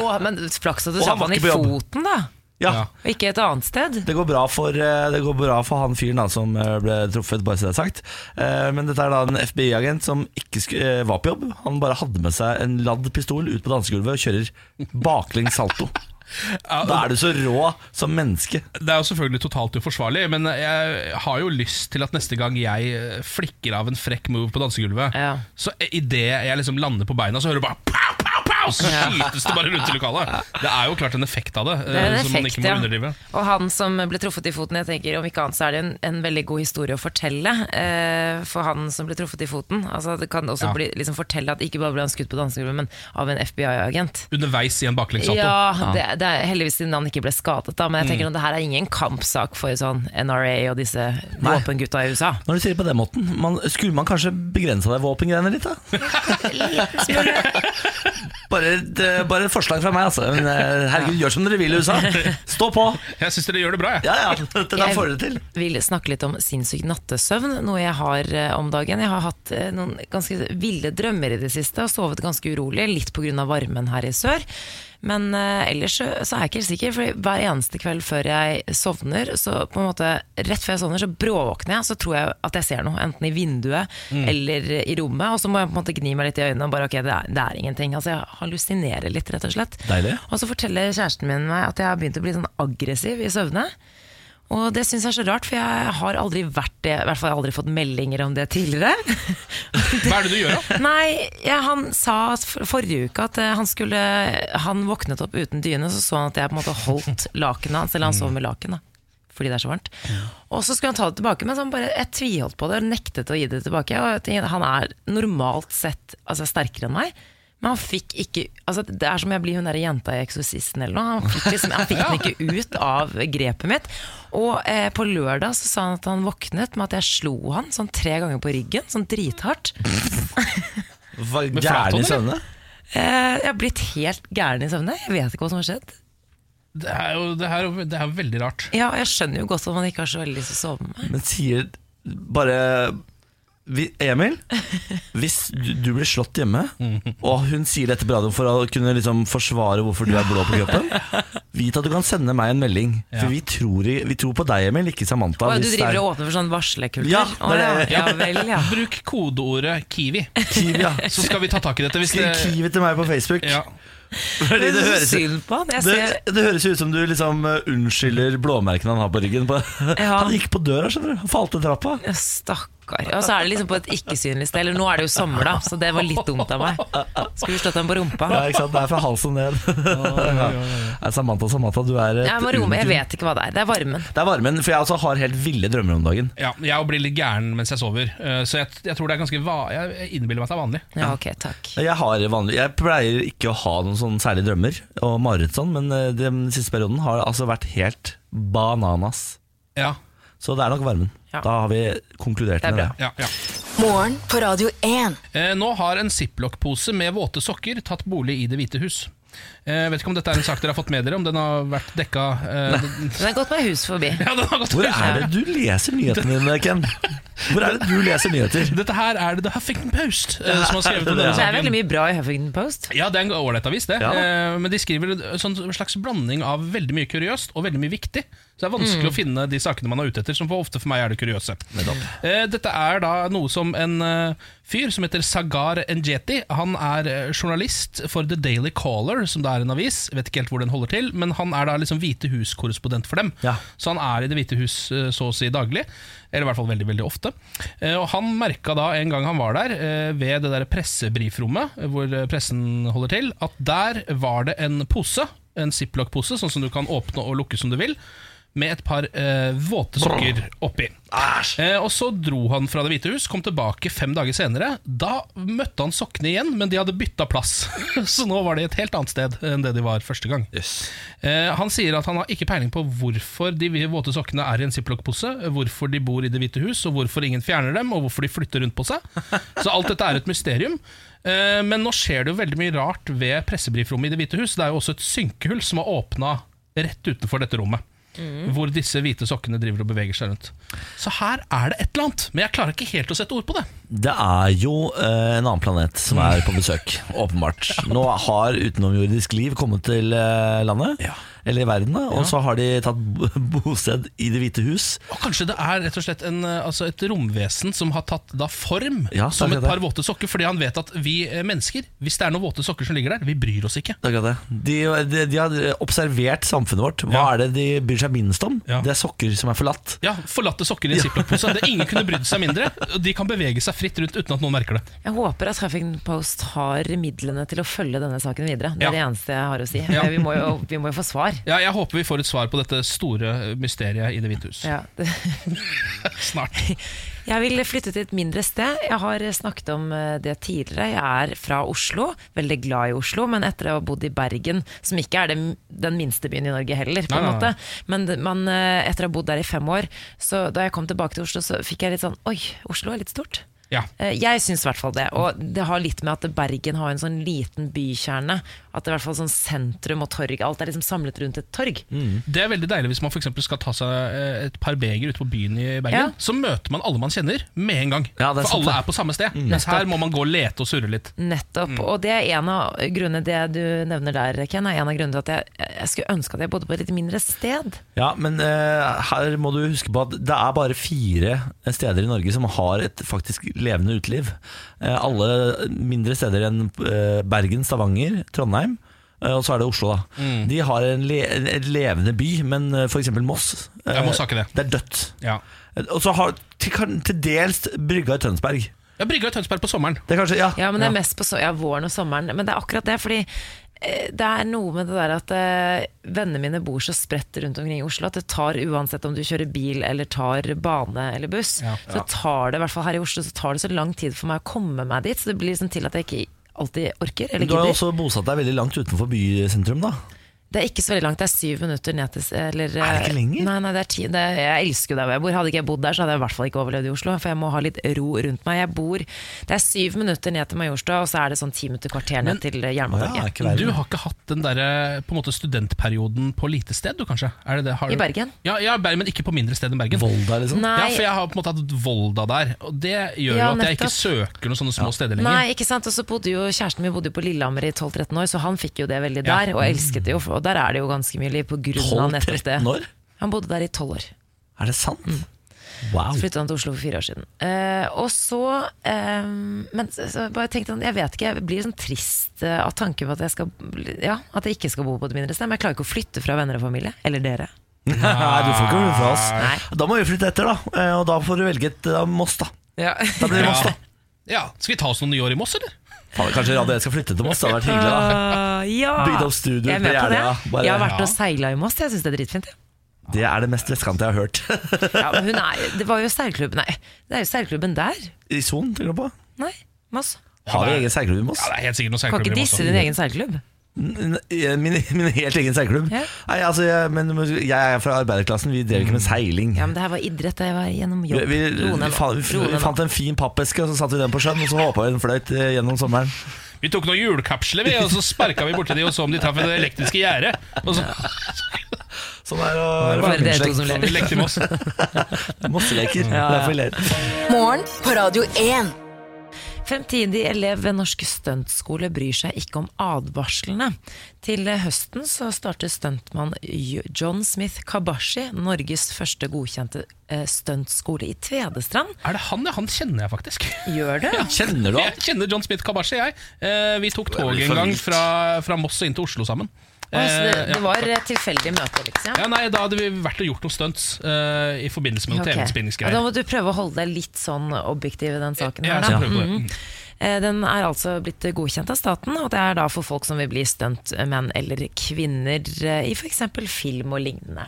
S2: å, men flaks at du
S1: Og han
S2: satte
S1: var
S2: han i
S1: ikke på jobb.
S2: foten, da.
S1: Ja,
S4: Ja.
S2: Og ikke et annet sted.
S1: Det går, bra for, eh, det går bra for han fyren da, som eh, ble truffet, bare så det er sagt. Eh, Men dette er da en FBI-agent som ikke sku- eh, var på jobb. Han bare hadde med seg en ladd pistol ut på dansegulvet og kjører baklengs salto. Da er du så rå som menneske.
S4: Det er jo selvfølgelig totalt uforsvarlig, men jeg har jo lyst til at neste gang jeg eh, flikker av en frekk move på dansegulvet,
S2: Ja.
S4: så idet jeg liksom lander på beina, så hører du bare pow, pow, pow, så skytes det bare rundt i lokalet. Det er jo klart en effekt av det,
S2: Det er en
S4: eh, som man
S2: effekt,
S4: ikke må
S2: ja.
S4: underdrive.
S2: Og han som ble truffet i foten, jeg tenker om ikke annet så er det en, en veldig god historie å fortelle eh, for han som ble truffet i foten. Altså, det kan også
S4: Ja.
S2: bli, liksom, fortelle at ikke bare ble han skutt på dansegulvet, men av en FBI-agent.
S4: Underveis i en baklengssalto.
S2: Ja, det, det er heldigvis siden han ikke ble skadet, da, men jeg tenker at det her er ingen kampsak for sånn NRA og disse våpengutta i USA.
S1: Når du sier det på den måten, man, skulle man kanskje begrensa deg våpengreiene litt, da? Bare, et, eh, bare et forslag fra meg, altså. Men, eh, herregud, gjør som dere vil i USA. Stå på!
S4: Jeg syns dere gjør det bra, jeg.
S1: Ja ja, dette der får dere til.
S2: Jeg vil snakke litt om sinnssyk nattesøvn, noe jeg har eh, om dagen. Jeg har hatt eh, noen ganske ville drømmer i det siste og sovet ganske urolig, litt pga. varmen her i sør. Men eh, ellers så, så er jeg ikke helt sikker, for hver eneste kveld før jeg sovner, så på en måte rett før jeg sovner, så bråvåkner jeg, så tror jeg at jeg ser noe, enten i vinduet
S1: Mm.
S2: eller i rommet, og så må jeg på en måte gni meg litt i øynene og bare ok, det er, det er ingenting. Altså jeg hallusinerer litt, rett og slett.
S1: Deilig.
S2: Og så forteller kjæresten min meg at jeg har begynt å bli sånn aggressiv i søvne. Og det syns jeg er så rart, for jeg har aldri vært det. I hvert fall har jeg aldri fått meldinger om det tidligere.
S4: Hva er det du gjør, da?
S2: Nei, ja, han sa at for- forrige uke at eh, han skulle Han våknet opp uten dyne, så så han at jeg på en måte holdt lakenet hans. Eller han sov med laken, da. Fordi det er så varmt. Og så skulle han ta det tilbake, men så han bare, jeg tviholdt på det og nektet å gi det tilbake. Og jeg tenker, han er normalt sett altså, sterkere enn meg. Men han fikk ikke altså, Det er som jeg blir hun der jenta i 'Eksorsisten' eller noe. Han fikk, liksom, han fikk den ikke ut av grepet mitt. Og eh, på lørdag så sa han at han våknet med at jeg slo han sånn tre ganger på ryggen, sånn drithardt.
S1: Var
S4: Med flathånd,
S1: gæren i
S4: eller?
S1: søvne.
S2: Eh, jeg har blitt helt gæren i søvne. Jeg vet ikke hva som har skjedd.
S4: Det er jo det er, jo- det er jo veldig rart.
S2: Ja, og Jeg skjønner jo godt at man ikke har så veldig lyst til å sove med meg.
S1: Men sier bare vi, Emil, hvis du, du blir slått hjemme, og hun sier dette på radioen for å kunne liksom forsvare hvorfor du er blå på kroppen, vit at du kan sende meg en melding.
S4: Ja.
S1: For vi tror, i- vi tror på deg, Emil, ikke Samantha.
S2: Å, Du
S1: hvis det er
S2: driver og åpner for sånn varslekultur?
S1: Ja,
S2: Å,
S1: det
S2: ja.
S1: er det.
S2: ja vel, ja.
S4: Bruk kodeordet kiwi,
S1: Kiwi, ja.
S4: så skal vi ta tak i dette. Hvis
S1: Skriv
S4: det,
S1: Kiwi til meg på Facebook.
S4: ja.
S1: Fordi det, høres,
S2: Synd på han. Jeg
S1: det,
S2: ser
S1: det høres ut som du liksom eh, unnskylder blåmerkene han har på ryggen. På.
S2: Ja.
S1: Han gikk på døra, skjønner du. Han Falt ned trappa.
S2: Ja, Stakkar. Og så er det liksom på et ikke-synlig sted. Eller nå er det jo sommer, da, så det var litt dumt av meg. Skulle slått ham på rumpa.
S1: Ja, ikke sant? Det er fra halsen ned. ja. Nei, Samantha, Samantha, du er et
S2: Jeg må roe meg,
S1: unikum.
S2: jeg vet ikke hva det er. Det er varmen.
S1: Det er varmen, for jeg også har helt ville drømmer om dagen.
S4: ja, jeg blir litt gæren mens jeg sover, eh, så jeg, jeg tror det er ganske va Jeg innbiller meg at det er vanlig.
S2: Ja, ok, takk.
S1: Jeg, har vanlig, jeg pleier ikke å ha noen sånne særlige drømmer og mareritt sånn, men eh, den siste perioden har altså vært helt bananas.
S4: Ja,
S1: Så det er nok varmen.
S2: Ja.
S1: Da har vi konkludert
S2: Det er
S1: med det.
S2: bra.
S4: ja, ja.
S5: Morgen på Radio 1.
S4: Eh, nå har en ziplock-pose med våte sokker tatt bolig i Det hvite hus. Eh, vet ikke om dette er en sak dere har fått med dere, om den har vært dekka eh, den-
S2: Den har gått meg hus forbi.
S4: ja, den har gått
S1: Hvor er det du leser nyhetene dine, Ken? Hvor er det du leser nyheter?
S4: Dette her er det The Huffington Post eh, som har skrevet om denne
S2: Det er
S4: saken.
S2: veldig mye bra i Huffington Post.
S4: Ja, det er en ålreit avis, det.
S1: Ja.
S4: Eh, men de skriver en sånn slags blanding av veldig mye kuriøst og veldig mye viktig. Så det er
S1: Mm.
S4: vanskelig å finne de sakene man er ute etter, som for ofte for meg er det kuriøse. Eh, dette er da noe som en eh, fyr som heter Sagar Njeti Han er eh, journalist for The Daily Caller, som da er en avis. Jeg vet ikke helt hvor den holder til, men han er da liksom Hvite hus-korrespondent for dem.
S1: Ja.
S4: Så han er i Det hvite hus eh, så å si daglig, eller i hvert fall veldig veldig ofte. Eh, Og Han merka da en gang han var der, eh, ved det der pressebrifrommet eh, hvor eh, pressen holder til, at der var det en pose, en ziplock-pose, sånn som du kan åpne og lukke som du vil, med et par eh, våte sokker oppi. Eh, og Så dro han fra Det hvite hus, kom tilbake fem dager senere. Da møtte han sokkene igjen, men de hadde bytta plass. så nå var de et helt annet sted enn det de var første gang. Eh, han sier at han har ikke peiling på hvorfor de våte sokkene er i en ziplock-pose, hvorfor de bor i Det hvite hus, og hvorfor ingen fjerner dem, og hvorfor de flytter rundt på seg. Så alt dette er et mysterium. Eh, men nå skjer det jo veldig mye rart ved pressebrifrommet i Det hvite hus. Det er jo også et synkehull som har åpna rett utenfor dette rommet. hvor disse hvite sokkene driver og beveger seg rundt. Så her er det et eller annet, men jeg klarer ikke helt å sette ord på det.
S1: Det er jo eh, en annen planet som er på besøk, åpenbart. Nå har utenomjordisk liv kommet til eh, landet, eller verden, da, og så har de tatt bo- bosted i Det hvite hus.
S4: Og kanskje det er rett og slett en, eh, altså et romvesen som har tatt da form
S1: Ja,
S4: som
S1: det er
S4: et
S1: det.
S4: par våte sokker, fordi han vet at vi eh, mennesker, hvis det er noen våte sokker som ligger der, vi bryr oss ikke.
S1: Det er akkurat det. De, de, de har observert samfunnet vårt. Hva
S4: Ja.
S1: er det de bryr seg minst om?
S4: Ja.
S1: Det er sokker som er forlatt.
S4: Ja, Forlatte sokker i en ziplock-pose. Det Ingen kunne brydd seg mindre. og De kan bevege seg fritt rundt uten at noen merker det.
S2: Jeg håper at Huffington Post har midlene til å følge denne saken videre. Det
S4: Ja.
S2: er det eneste jeg har å si.
S4: Ja.
S2: Vi, må jo, vi må jo få svar.
S4: Ja, Jeg håper vi får et svar på dette store eh, mysteriet i Det hvite hus
S2: Ja.
S4: snart.
S2: Jeg vil flytte til et mindre sted. Jeg har snakket om eh, det tidligere. Jeg er fra Oslo, veldig glad i Oslo, men etter å ha bodd i Bergen, som ikke er den, den minste byen i Norge heller, på
S4: Nei,
S2: en
S4: nei, nei.
S2: måte. Men det- man, eh, etter å ha bodd der i fem år, så da jeg kom tilbake til Oslo, så fikk jeg litt sånn Oi, Oslo er litt stort.
S4: Ja.
S2: Eh, Jeg syns i hvert fall det. Og det har litt med at Bergen har en sånn liten bykjerne. At det er i hvert fall sånn sentrum og torg. Alt er liksom samlet rundt et torg.
S1: Mm.
S4: Det er veldig deilig hvis man for eksempel skal ta seg eh, et par beger ute på byen i
S2: Ja.
S4: Bergen. Så møter man alle man kjenner med en gang.
S1: Ja, det er
S4: for
S1: sant,
S4: alle
S1: det. Mm.
S4: er på samme sted. Mens her må man gå og lete og surre litt.
S2: Nettopp. Og det er en av grunnene det du nevner der, Ken, er en av grunnene til at jeg, jeg skulle ønske at jeg bodde på et litt mindre sted.
S1: Ja, men eh, her må du huske på at det er bare fire steder i Norge som har et faktisk levende uteliv. Eh, alle mindre steder enn eh, Bergen, Stavanger, Trondheim. eh, Og så er det Oslo, da. De har en, le en et levende by, men f.eks. Moss eh,
S4: Ja, Moss har ikke det.
S1: Det er dødt. Eh,
S4: Ja.
S1: Og så har til, kan- til dels brygga i Tønsberg.
S4: Ja, Brygga i Tønsberg på sommeren.
S1: Det er kanskje, ja,
S2: Ja, men det er mest på så, ja, våren og sommeren. Men det er akkurat det, fordi eh, det er noe med det der at eh, vennene mine bor så spredt rundt omkring i Oslo at det tar, uansett om du kjører bil eller tar bane eller buss,
S4: Ja.
S2: så tar det, i hvert fall her i Oslo, så tar det så lang tid for meg å komme meg dit. Så det blir liksom til at jeg ikke alltid orker eller
S1: Du har jo
S2: gidder.
S1: også bosatt deg veldig langt utenfor bysentrum, da.
S2: Det er ikke så veldig langt, det er syv minutter ned til eller, eh,
S1: Er det ikke lenger?
S2: Nei, nei, det er ti, det, jeg elsker jo der hvor jeg bor. Hadde ikke jeg bodd der, så hadde jeg i hvert fall ikke overlevd i Oslo. For jeg må ha litt ro rundt meg. Jeg bor, Det er syv minutter ned til Majorstua, og så er det sånn ti minutter kvarter ned til
S1: Å
S2: eh,
S1: ja,
S2: Jernbanetorget.
S1: ikke verre.
S4: Du har ikke hatt den der, på en måte studentperioden på lite sted, du kanskje? Er det det? Har
S2: I
S4: du-
S2: Bergen?
S4: Ja, ja, Bergen, men ikke på mindre sted enn Bergen.
S1: Volda, liksom.
S2: Nei.
S4: Ja, for jeg har på en måte hatt Volda der, og det gjør
S2: Ja,
S4: jo at jeg ikke søker noen sånne små steder lenger.
S2: Nei, ikke sant, og så bodde jo Kjæresten min bodde jo på Lillehammer i 12-13 år, så han fikk jo det veldig der, og elsket det jo. Og der er det jo ganske mye liv på grunn av nettopp det.
S1: 12-13 år?
S2: Han bodde der i tolv år.
S1: Er det sant? Wow.
S2: Så flyttet han til Oslo for fire år siden. Eh, og så eh, Men så, så bare tenkte han, jeg vet ikke, jeg blir sånn trist eh, av tanken på at jeg, skal, bli- ja, at jeg ikke skal bo på et mindre sted. Men jeg klarer ikke å flytte fra venner og familie. Eller dere.
S1: Nei, du får ikke flytte fra oss.
S2: Nei.
S1: Da må vi flytte etter, da. Eh, Og da får du velge et eh, Moss, da. Da blir det Moss, da.
S4: Ja, Skal vi ta oss noen nye år i Moss, eller?
S1: Faen, kanskje Radio 1 skal flytte til Moss. Det hadde vært hyggelig, da.
S2: ja!
S1: Bygd opp studio
S2: jeg er med
S1: på
S2: på det.
S1: Jeløya, bare-
S2: Jeg har vært og seila i Moss, jeg syns det er dritfint. jeg.
S1: Det er det mest vestkante jeg har hørt.
S2: Ja, men hun er, det var jo seilklubben Nei, det er jo seilklubben der.
S1: I Son, tenker du på?
S2: Nei, Moss.
S1: Har vi
S4: Ja, det er-
S1: egen seilklubb i Moss?
S4: Ja, det er helt sikkert noen
S2: Kan
S4: seilklubber
S2: ikke
S4: i Moss.
S2: disse din egen seilklubb.
S1: N- n- Min, min helt egen seilklubb?
S2: Ja.
S1: Nei, altså, jeg, men jeg er fra arbeiderklassen. Vi drev ikke med seiling.
S2: Ja, men det her var idrett, det var gjennom
S1: Vi,
S2: jobb.
S1: vi, vi,
S2: Roe ned nå.
S1: fant, vi,
S2: Roe ned
S1: vi
S2: nå.
S1: fant en fin pappeske, og så satte vi den på sjøen, og så håpa vi den fløyt eh, gjennom sommeren.
S4: Vi tok noen hjulkapsler, vi, og så sparka vi borti de og så om de traff det elektriske gjerdet. Og så
S1: Sånn er å være
S2: Bare dere to
S1: folkeslekt.
S2: som
S4: så vi
S2: ler.
S4: lekte i Moss.
S1: Mosseleker. Derfor vi ler.
S5: Morgen på Radio 1.
S2: Fremtidig elev ved Norsk Stuntskole bryr seg ikke om advarslene. Til høsten så starter stuntmann J- John Smith Kabashi Norges første godkjente eh, stuntskole i Tvedestrand.
S4: Er det han? Ja, han kjenner jeg faktisk.
S2: Gjør det?
S1: Kjenner du
S4: Jeg kjenner John Smith Kabashi, jeg. Eh, vi tok tog en gang fra, fra Moss og inn til Oslo sammen.
S2: Altså, det,
S4: Eh,
S2: det var eh, tilfeldig møte, liksom?
S4: ja, nei, Da hadde vi vært og gjort noen stunts eh, i forbindelse med
S2: Ok.
S4: noen
S2: Ja, Da
S4: TV-innspillingsgreier.
S2: må du prøve å holde deg litt sånn objektiv i den saken. her,
S4: Ja, jeg skal
S2: da.
S4: prøve på det.
S2: Eh, Den er altså blitt godkjent av staten, og det er da for folk som vil bli stuntmenn eller kvinner eh, i f.eks. film og lignende.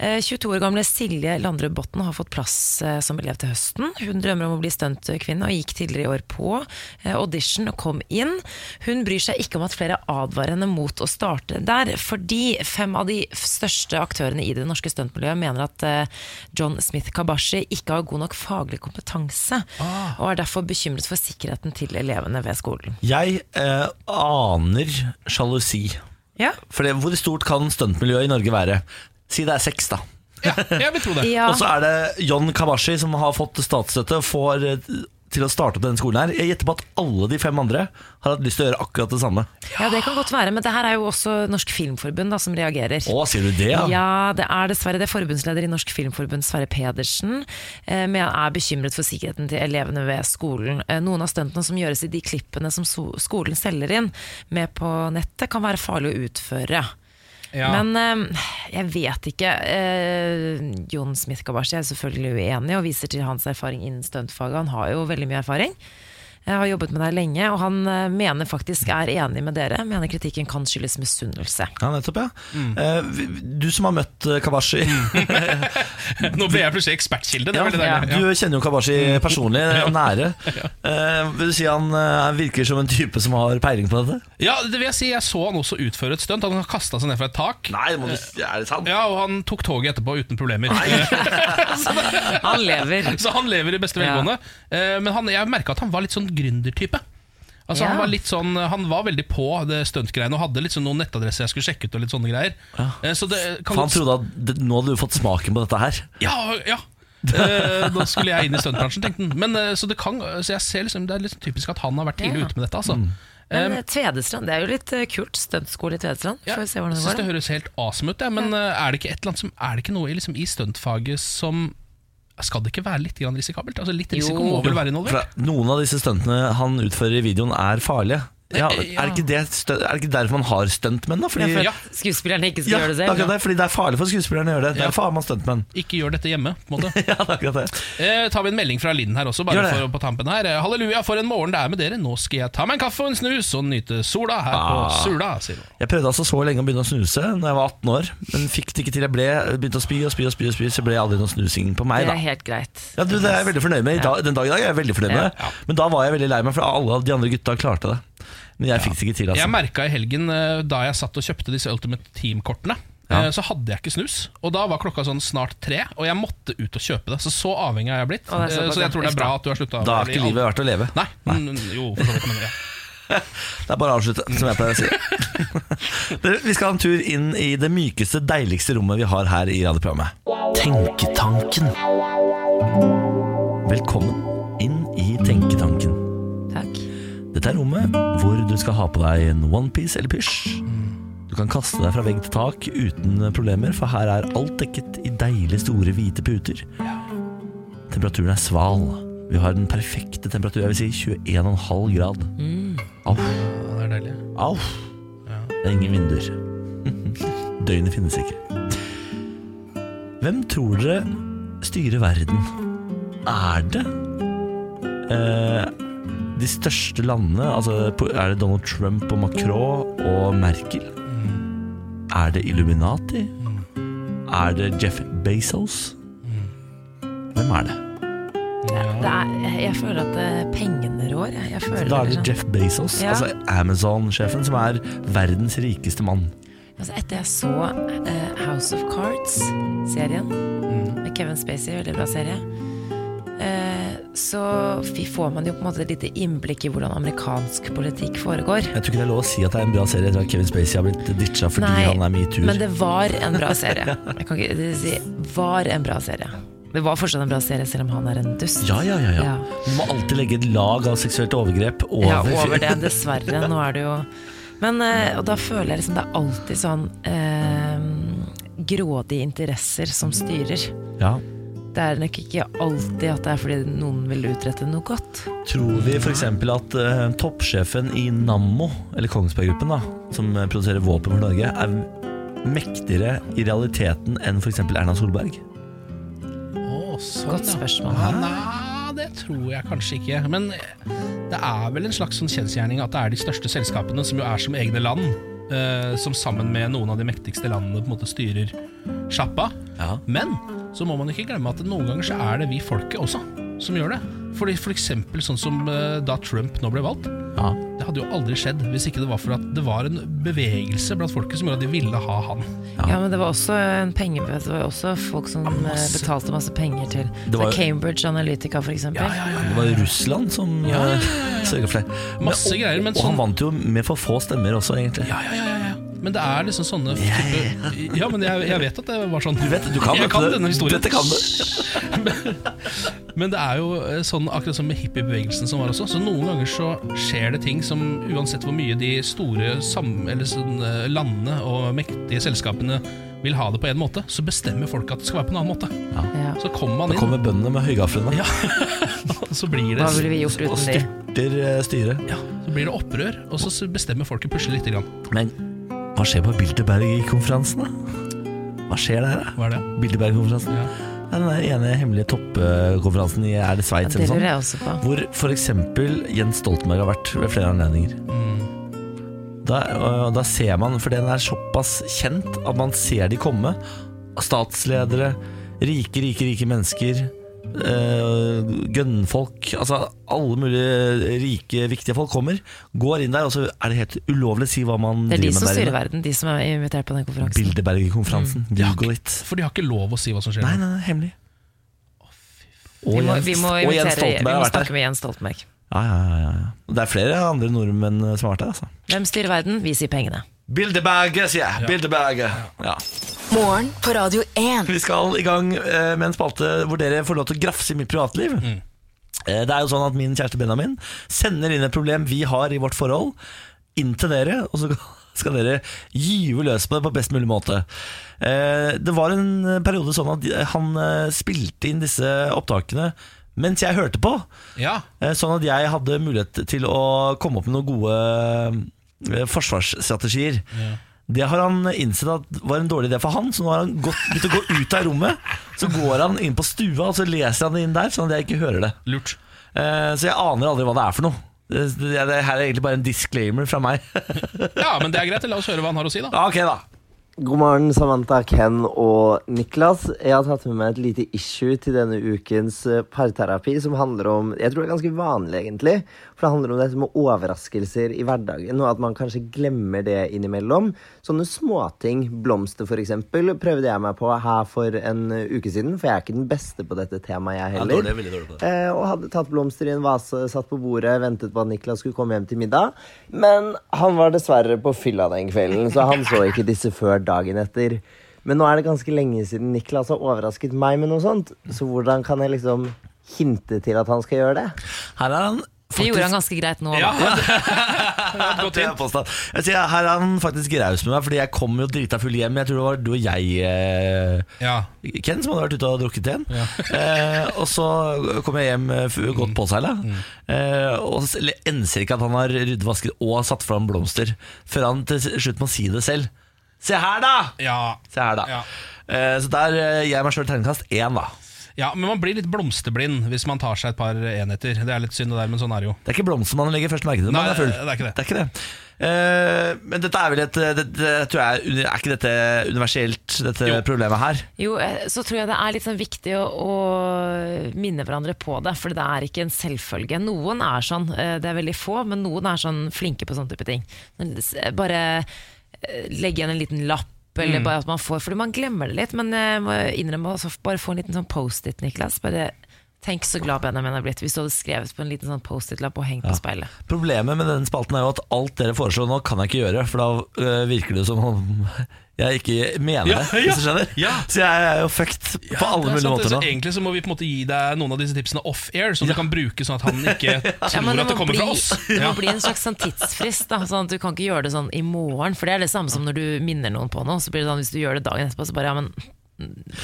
S2: Eh, 22 år gamle Silje Landrud Botten har fått plass eh, som elev til høsten. Hun drømmer om å bli stuntkvinne og gikk tidligere i år på eh, audition og kom inn. Hun bryr seg ikke om at flere advarer henne mot å starte der, fordi fem av de største aktørene i det norske stuntmiljøet mener at eh, John Smith Kabashi ikke har god nok faglig kompetanse, og er derfor bekymret for sikkerheten til elevene ved skolen.
S1: Jeg eh, aner sjalusi.
S2: Ja,
S1: For det, hvor stort kan stuntmiljøet i Norge være? Si det er seks, da.
S4: Ja, jeg vil tro det.
S2: Ja.
S1: Og så er det John Kabashi som har fått statsstøtte får, eh, til å starte opp denne skolen her. Jeg gjetter på at alle de fem andre har hatt lyst til å gjøre akkurat det samme.
S2: ja, det kan godt være, men det her er jo også Norsk Filmforbund da, som reagerer.
S1: Å, sier du det,
S2: Ja.
S1: ja?
S2: det er dessverre det. Forbundsleder i Norsk Filmforbund, Sverre Pedersen, eh, men han er bekymret for sikkerheten til elevene ved skolen. Eh, Noen av stuntene som gjøres i de klippene som so- skolen selger inn med på nettet, kan være farlig å utføre.
S4: Ja.
S2: Men eh, jeg vet ikke. Eh, Jon Smith Gabashi er selvfølgelig uenig og viser til hans erfaring innen stuntfaget. Han har jo veldig mye erfaring. Jeg har jobbet med det her lenge, og han eh, mener faktisk er enig med dere. Mener kritikken kan skyldes misunnelse.
S1: Ja, nettopp, ja. Eh, vi- Du som har møtt eh, Kabashi,
S4: Nå ble jeg plutselig ekspertkilde. Det
S1: ja,
S4: er veldig deilig.
S1: du kjenner jo Kabashi personlig og nære. Eh, Vil du si han eh, virker som en type som har peiling på dette?
S4: Ja, det vil jeg si. Jeg så han også utføre et stunt. Han kasta seg ned fra et tak.
S1: Nei, må du, er det sant?
S4: Ja, Og han tok toget etterpå uten problemer.
S2: Han lever.
S4: Så han lever i beste
S2: Ja.
S4: velgående. Eh, Men han, jeg merka at han var litt sånn gründertype. Altså,
S2: Ja.
S4: han, var litt sånn, han var veldig på det stuntgreiene og hadde litt sånn noen nettadresser jeg skulle sjekke ut. og litt sånne greier Eh, Så det kan
S1: For han
S4: godt-
S1: trodde at det- nå hadde du fått smaken på dette her.
S4: Ja, ja Eh, Da skulle jeg inn i stuntbransjen, tenkte han. Men, eh, så, det kan, så jeg ser liksom, det er litt sånn typisk at han har vært tidlig
S2: Ja.
S4: ute med dette. Altså.
S2: Men eh, Tvedestrand, det er jo litt eh, kult. Stuntskole i Tvedestrand.
S4: Ja,
S2: Får vi se hvordan
S4: jeg
S2: det
S4: synes
S2: går.
S4: det
S2: da.
S4: høres helt awesome ut, ja, men eh, er, det ikke et eller annet som, er det ikke noe i, liksom, i stuntfaget som Skal det ikke være litt grann risikabelt? Altså, litt risiko må vel være
S1: For
S4: involvert?
S1: noen av disse stuntene han utfører i videoen er farlige. Ja,
S4: Eh, ja.
S1: er, det ikke det, stø- er det ikke derfor man har stuntmenn, da? Fordi,
S2: For at
S4: Ja.
S2: Skuespillerne ikke skal
S1: Ja,
S2: gjøre
S1: det
S2: det
S1: er
S2: selv.
S1: akkurat det, fordi det er farlig for skuespillerne å gjøre det. Derfor har man stuntmenn.
S4: Ikke gjør dette hjemme. på en måte
S1: Ja, det er akkurat det.
S4: Eh, tar vi en melding fra Linn her også, bare
S1: Gjør det.
S4: for, på tampen her. Eh, Halleluja, for en morgen det er med dere. Nå skal jeg ta meg en kaffe og en snus og nyte sola her
S1: Ah.
S4: på Sula, sier hun.
S1: Jeg prøvde altså så lenge å begynne å snuse da jeg var 18 år, men fikk det ikke til. Jeg ble, begynte å spy og spy og spy, og spy så ble det aldri noe snusing på meg.
S2: Det
S1: da
S2: er helt greit.
S1: ja, du, det er jeg veldig fornøyd med. I dag, den dag i dag er jeg veldig fornøyd med det. Men da var jeg veldig lei meg, for alle de andre gutta klarte det. Men jeg fikk det ikke til.
S4: Jeg
S1: altså
S4: merka i helgen, eh, da jeg satt og kjøpte disse Ultimate Team-kortene,
S1: Ja.
S4: eh, så hadde jeg ikke snus. Og da var klokka sånn snart tre, og jeg måtte ut og kjøpe det. Så så avhengig har jeg blitt.
S2: Å, det er
S4: Eh,
S2: såpass,
S4: så jeg tror det
S2: ja.
S4: er bra at du har slutta.
S1: Da er ikke livet verdt å leve.
S4: Nei. mm, Jo, for så vidt. Men, ja.
S1: Det er bare å avslutte, som jeg pleier å si. Dere, vi skal ha en tur inn i det mykeste, deiligste rommet vi har her i radioprogrammet. Tenketanken. Velkommen inn i Tenketanken.
S2: Takk.
S1: Dette er rommet hvor du skal ha på deg en onepiece eller pysj. Du kan kaste deg fra vegg til tak uten problemer, for her er alt dekket i deilig store hvite puter. Temperaturen er sval. Vi har den perfekte temperatur, jeg vil si 21,5 grad. Au.
S4: Ja, det er deilig.
S1: Au! Det er ingen vinduer. Døgnet finnes ikke. Hvem tror dere styrer verden? Er det eh, de største landene? Altså, po- er det Donald Trump og Macron og Merkel? Er det Illuminati? Er det Jeff Bezos? Hvem er det?
S2: Det er, jeg føler at eh, pengene rår. jeg. Jeg føler
S1: Da er
S2: liksom-
S1: det Jeff Bezos,
S2: Ja.
S1: altså Amazon-sjefen, som er verdens rikeste mann.
S2: Altså, etter jeg så eh, House of Cards-serien
S1: Mm.
S2: med Kevin Spacey, veldig bra serie, eh, så fi- får man jo på en måte et lite innblikk i hvordan amerikansk politikk foregår.
S1: Jeg tror ikke det er lov å si at det er en bra serie etter at Kevin Spacey har blitt ditcha fordi han er metoo.
S2: men det var en bra serie. Jeg kan ikke det vil si var en bra serie. Det var fortsatt en bra serie, selv om han er en dust.
S1: Ja, ja, ja, ja.
S2: Ja.
S1: Du må alltid legge et lag av seksuelt overgrep over,
S2: Ja, over det, dessverre. Nå er det jo Men eh, og da føler jeg liksom det er alltid sånn eh, grådige interesser som styrer.
S1: Ja.
S2: Det er nok ikke alltid at det er fordi noen vil utrette noe godt.
S1: Tror vi f.eks. at eh, toppsjefen i Nammo, eller Kongsberg Gruppen, da, som eh, produserer våpen for Norge, er mektigere i realiteten enn f.eks. Erna Solberg?
S4: Å, sånn,
S2: Godt
S4: ja.
S2: spørsmål.
S4: Ja, Nei, det tror jeg kanskje ikke. Men det er vel en slags sånn kjensgjerning at det er de største selskapene, som jo er som egne land, eh, som sammen med noen av de mektigste landene på en måte styrer sjappa.
S1: Ja.
S4: Men så må man ikke glemme at noen ganger så er det vi folket også som gjør det. Fordi For eksempel sånn som eh, da Trump nå ble valgt.
S1: ja.
S4: Det hadde jo aldri skjedd hvis ikke det var for at det var en bevegelse blant folket som gjorde at de ville ha han.
S2: Ja, men det var også en penge, det var også folk som eh, betalte masse penger til
S1: Det var-
S2: til Cambridge Analytica, for eksempel.
S1: Det var Russland som ja, sørga for det.
S4: Masse greier, men
S1: og han
S4: sånn-
S1: vant jo med for få stemmer også, egentlig.
S4: Ja, ja, ja, ja, ja. Men det er liksom sånne type, Ja, men jeg, jeg vet at det var sånn.
S1: Du vet, du kan
S4: jeg
S1: dette.
S4: kan denne historien.
S1: Dette kan du.
S4: Men det er jo eh, sånn akkurat som med hippiebevegelsen som var også. Så noen ganger så skjer det ting som uansett hvor mye de store sam eller sånn, eh, landene og mektige selskapene vil ha det på en måte, så bestemmer folk at det skal være på en annen måte.
S2: Ja.
S4: Så kommer man
S1: Da
S4: inn,
S1: kommer bøndene med høygaflene
S4: Ja. og så blir det,
S2: Hva ville vi gjort
S1: og
S2: uten de?
S1: styrter eh, styret.
S4: ja, så blir det opprør, og så s- bestemmer folket plutselig lite grann.
S1: Men hva skjer på Bilderberg-konferansen, da? Hva skjer der, da?
S4: Hva er det?
S1: Bilderberg-konferansen.
S4: Ja.
S1: Det er Den der ene hemmelige toppkonferansen i er det
S2: Ja,
S1: Sveits
S2: det
S1: eller noe
S2: lurer
S1: sånt.
S2: jeg også på.
S1: Hvor f.eks. Jens Stoltenberg har vært ved flere anledninger.
S4: Mm.
S1: Da, og da ser man, for den er såpass kjent at man ser de komme. Statsledere, rike, rike, rike mennesker. Eh, gønnfolk Altså alle mulige rike, viktige folk kommer. Går inn der, og så er det helt ulovlig å si hva man
S2: Det er de
S1: driver
S2: som
S1: med der
S2: styrer
S1: inne.
S2: verden, de som er invitert på den konferansen.
S1: Bilderberg-konferansen. Google it.
S4: For de har ikke lov å si hva som skjer.
S1: Nei, nei, nei, hemmelig. Og
S2: Vi må,
S1: Jens-
S2: vi må,
S1: og Jens
S2: invitere, vi
S1: Stoltenberg har
S2: må
S1: vært der.
S2: snakke med Jens Stoltenberg.
S1: Ja, ja, ja, ja, ja. Det er flere andre nordmenn eh, som har vært der, altså.
S2: Hvem styrer verden? Vi sier pengene.
S1: Bilderberget, sier jeg. Bilderberget. Ja.
S5: Morgen på Radio 1.
S1: Vi skal i gang eh, med en spalte hvor dere får lov til å grafse i mitt privatliv. Eh, Det er jo sånn at Min kjæreste Benjamin sender inn et problem vi har i vårt forhold, inn til dere. Og så skal dere gyve løs på det på best mulig måte. Eh, Det var en periode sånn at de- han eh, spilte inn disse opptakene mens jeg hørte på.
S4: Ja,
S1: Eh, Sånn at jeg hadde mulighet til å komme opp med noen gode eh, forsvarsstrategier. Det har han innsett at var en dårlig idé for han, så nå har han gått, begynt å gå ut av rommet. Så går han inn på stua, og så leser han det inn der, sånn at jeg ikke hører det.
S4: lurt.
S1: Eh, Så jeg aner aldri hva det er for noe. Det det- det her er egentlig bare en disclaimer fra meg.
S4: Ja, men det er greit. La oss høre hva han har å si, da.
S1: Ja, Ok, da.
S7: God morgen, Samantha, Ken og Niklas. Jeg har tatt med meg et lite issue til denne ukens eh, parterapi, som handler om Jeg tror det er ganske vanlig, egentlig. For det handler om dette med overraskelser i hverdagen, og at man kanskje glemmer det innimellom. Sånne småting, blomster f.eks., prøvde jeg meg på her for en eh, uke siden, for jeg er ikke den beste på dette temaet, jeg
S1: Ja,
S7: heller.
S1: dårlig, veldig dårlig på det.
S7: Eh, og hadde tatt blomster i en vase, satt på bordet, ventet på at Niklas skulle komme hjem til middag. Men han var dessverre på fylla den kvelden, så han så ikke disse før dagen etter. Men nå er det ganske lenge siden Niklas har overrasket meg med noe sånt, så hvordan kan jeg liksom hinte til at han skal gjøre det?
S1: Her er han
S2: Det gjorde han
S1: faktisk
S2: ganske greit nå.
S4: Ja,
S2: da.
S4: det var et godt
S1: Det er
S4: hint.
S1: påstand. jeg sier, her er han faktisk raus med meg, Fordi jeg kom jo drita full hjem. Jeg tror det var du og jeg eh,
S4: Ja.
S1: Ken som hadde vært ute og drukket igjen. eh, og så kom jeg hjem eh, f- godt påseila.
S4: Mm.
S1: Eh, og s- eller enser ikke at han har ryddvasket og satt fram blomster, før han til s- slutt må si det selv. Se her, da!
S4: Ja.
S1: Se her da
S4: Ja.
S1: eh, Så der eh, gir jeg meg sjøl terningkast én, da.
S4: ja, men man blir litt blomsterblind hvis man tar seg et par enheter. Det er litt synd, det der, men sånn er det jo.
S1: Det er ikke blomster man legger først merke til når
S4: Nei,
S1: man er full.
S4: det er ikke det.
S1: Det er ikke det. Eh, men dette er vel et det, det, tror jeg, er uni- Er ikke dette universelt, dette
S4: Jo.
S1: problemet her?
S2: Jo, eh, så tror jeg det er litt sånn viktig å, å minne hverandre på det, for det er ikke en selvfølge. Noen er sånn, eh, det er veldig få, men noen er sånn flinke på sånne type ting. Men s- Bare eh, legge igjen en liten lapp. Eller bare at man får, fordi man glemmer det litt. Men jeg må innrømme også, bare få en liten sånn Post-It, Niklas. Bare Tenk så glad Benjamin er blitt hvis du hadde skrevet på en liten sånn Post-It-lapp og hengt på speilet.
S1: Problemet med denne spalten er jo at alt dere foreslår nå kan jeg ikke gjøre, for da øh, virker det som om jeg ikke mener det,
S4: Ja, ja,
S1: hvis du skjønner.
S4: ja.
S1: Så jeg er jo fucked på alle
S4: Det er
S1: mulige
S4: sant,
S1: måter
S4: så
S1: nå.
S4: Egentlig så må vi på en måte gi deg noen av disse tipsene off-air, som du kan bruke sånn at han ikke tror
S2: Ja, men
S4: at det
S2: må
S4: kommer fra
S2: bli-
S4: oss.
S2: Det
S4: Ja.
S2: må bli en slags sånn tidsfrist. Da, sånn at Du kan ikke gjøre det sånn i morgen, for det er det samme som når du minner noen på noe. Så blir det sånn Hvis du gjør det dagen etterpå, så bare ja, men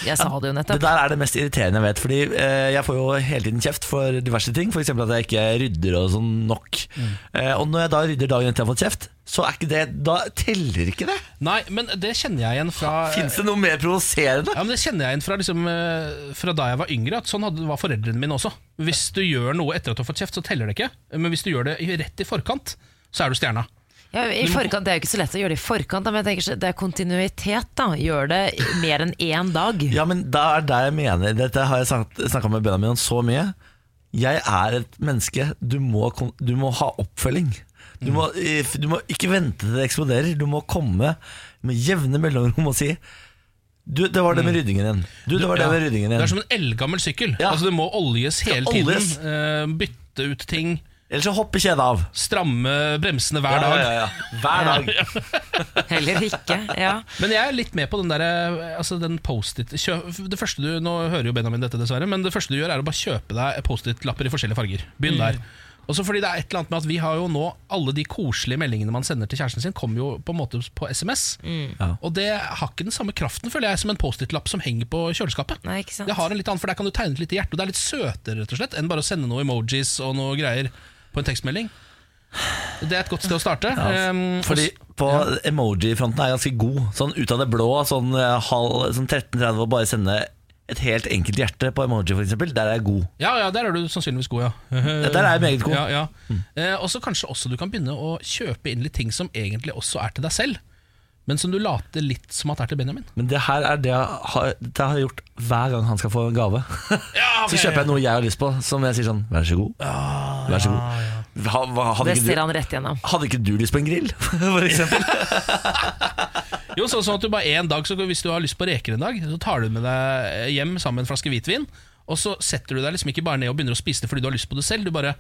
S2: jeg sa det
S1: Det
S2: jo nettopp.
S1: der er det mest irriterende jeg vet, fordi øh, jeg får jo hele tiden kjeft for diverse ting, f.eks. at jeg ikke rydder og sånn nok.
S4: Mm.
S1: Eh, og når jeg da rydder dagen etter jeg har fått kjeft, så er ikke det Da teller ikke det!
S4: Nei, men det kjenner jeg igjen fra eh,
S1: Fins det noe mer provoserende?
S4: ja, men Det kjenner jeg igjen fra, liksom, eh, fra da jeg var yngre, at sånn hadde, var foreldrene mine også. Hvis du gjør noe etter at du har fått kjeft, så teller det ikke. Men hvis du gjør det i- rett i forkant, så er du stjerna.
S2: Ja, i forkant, det er jo ikke så lett å gjøre det i forkant, da, men jeg tenker så- det er kontinuitet. da Gjør det i mer enn én dag.
S1: Ja, men det er det jeg mener. Dette har jeg snakka med Benjamin om så mye. Jeg er et menneske. Du må, kon- du må ha oppfølging. Du må,
S4: Mm.
S1: eh, f- du må ikke vente til det eksploderer. Du må komme med jevne mellomrom og si du, det var det med ryddingen din. Du, det var det
S4: Mm. Ja.
S1: med ryddingen
S4: Det er
S1: din.
S4: som en eldgammel sykkel.
S1: Ja.
S4: Altså Det må oljes hele
S1: Oljes.
S4: tiden. eh, bytte ut ting.
S1: Ellers så hopper kjedet av.
S4: Stramme bremsene hver
S1: Ja,
S4: dag.
S1: ja, ja. Hver dag.
S2: Heller ikke. Ja.
S4: Men jeg er litt med på den der eh, altså den Post-It kjø- Det første du, Nå hører jo Benjamin dette, dessverre, men det første du gjør, er å bare kjøpe deg Post-It-lapper i forskjellige farger.
S2: Mm.
S4: Begynn der. Også fordi det er et eller annet med at Vi har jo nå alle de koselige meldingene man sender til kjæresten sin, kommer jo på en måte på SMS.
S2: Mm.
S4: Og det har ikke den samme kraften, føler jeg, som en Post-It-lapp som henger på kjøleskapet.
S2: Nei, ikke sant?
S4: Det har en litt annen, for Der kan du tegne et lite hjerte, og det er litt søtere rett og slett enn bare å sende noe emojis og noe greier på en tekstmelding. Det er et godt sted å starte. Ehm,
S1: Fordi på emoji-fronten er jeg ganske god. Sånn ut av det blå, sånn, eh, halv, sånn 13.30 og bare sende et helt enkelt hjerte på emoji, for eksempel Der er jeg god.
S4: Ja, ja, der er du sannsynligvis god, ja.
S1: der er jeg meget god.
S4: Mm. Ja, ja. Eh, og så kanskje også du kan begynne å kjøpe inn litt ting som egentlig også er til deg selv, men som du later litt som at er til Benjamin.
S1: Men det her er det jeg har, det har jeg gjort hver gang han skal få en gave.
S4: Ja, ok.
S1: Så kjøper jeg noe jeg har lyst på, som jeg sier sånn Vær så god. Vær så god. Ha, hva- hadde,
S2: Det ser
S1: ikke du,
S2: han rett gjennom.
S1: hadde ikke du lyst på en grill, for eksempel?
S4: Jo, sånn sånn at du bare en dag, så Hvis du har lyst på reker en dag, så tar du med deg hjem sammen med en flaske hvitvin, og så setter du deg liksom ikke bare ned og begynner å spise det fordi du har lyst på det selv. Du bare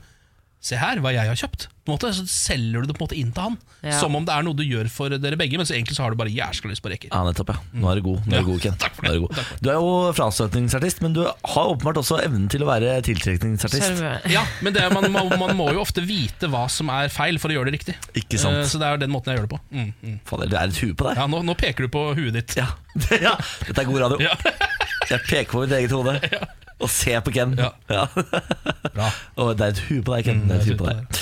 S4: Se her, hva jeg har kjøpt. På en måte, Så selger du det på en måte inn til han.
S2: Ja.
S4: Som om det er noe du gjør for dere begge, men så egentlig så har du bare jæskla lyst på reker.
S1: Ja, nettopp, ja. Nå er du god, Nå er du god Ken.
S4: Takk for
S1: Nå
S4: det.
S1: er du, god. du er jo frastøtningsartist, men du har åpenbart også evnen til å være tiltrekningsartist.
S2: Sjarmør.
S4: Ja, men det, er- man, man, man må jo ofte vite hva som er feil for å gjøre det riktig.
S1: Ikke sant.
S4: Eh, Så det er den måten jeg gjør det på. Mm, mm.
S1: Fader, det er et hue på deg.
S4: Ja, nå, nå peker du på huet ditt.
S1: Ja. ja. Dette er god radio.
S4: Ja.
S1: Jeg peker på mitt eget hode og ser på Ken.
S4: Ja.
S1: Ja.
S4: Bra.
S1: Og det er et hue på deg, Ken. Det er et hue på deg.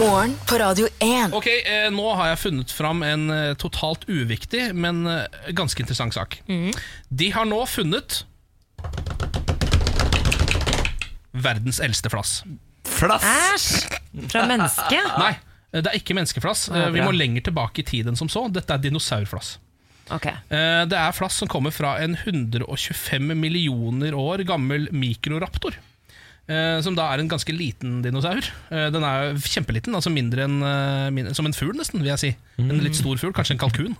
S5: Morgen på Radio 1.
S4: Ok, eh, Nå har jeg funnet fram en eh, totalt uviktig, men eh, ganske interessant sak. De har nå funnet verdens eldste flass.
S1: Flass!
S2: Æsj! Fra mennesket?
S4: Nei, eh, det er ikke menneskeflass. Eh, Vi
S2: bra.
S4: må lenger tilbake i tid enn som så. Dette er dinosaurflass.
S2: Ok.
S4: Eh, Det er flass som kommer fra en 125 millioner år gammel mikroraptor. eh, Som da er en ganske liten dinosaur. Eh, Den er jo kjempeliten, altså mindre enn eh, min- som en fugl, nesten. vil jeg si En litt stor fugl, kanskje en kalkun.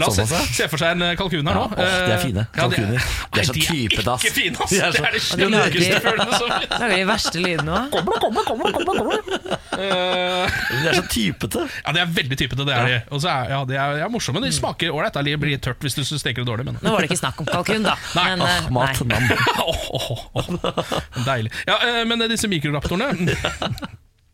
S4: La oss se,
S1: Såpass, sånn ja.
S4: se for seg en eh, kalkun
S1: Ja,
S4: her nå.
S1: åh, de er fine.
S4: Eh, ja, de
S1: Kalkuner. De er
S4: Nei,
S1: så typete, ass.
S4: De er ikke fine, ass!
S1: De er
S4: Det
S1: så-
S4: er de
S2: Og de lager-
S4: sjukeste fuglene som
S2: Lager de verste lydene òg?
S4: Eh,
S1: De er så typete.
S4: Ja, de er veldig typete, det er de. Og så er, ja, de er, ja, morsomme. De smaker ålreit. Det blir tørt hvis du steker det dårlig, men
S2: Nå var det ikke snakk om kalkun, da.
S4: Nei,
S2: Men, eh,
S1: Åh, mat.
S2: nei.
S1: Nam.
S4: Åh, åh, åh. Deilig. Ja, eh, men disse mikroraptorene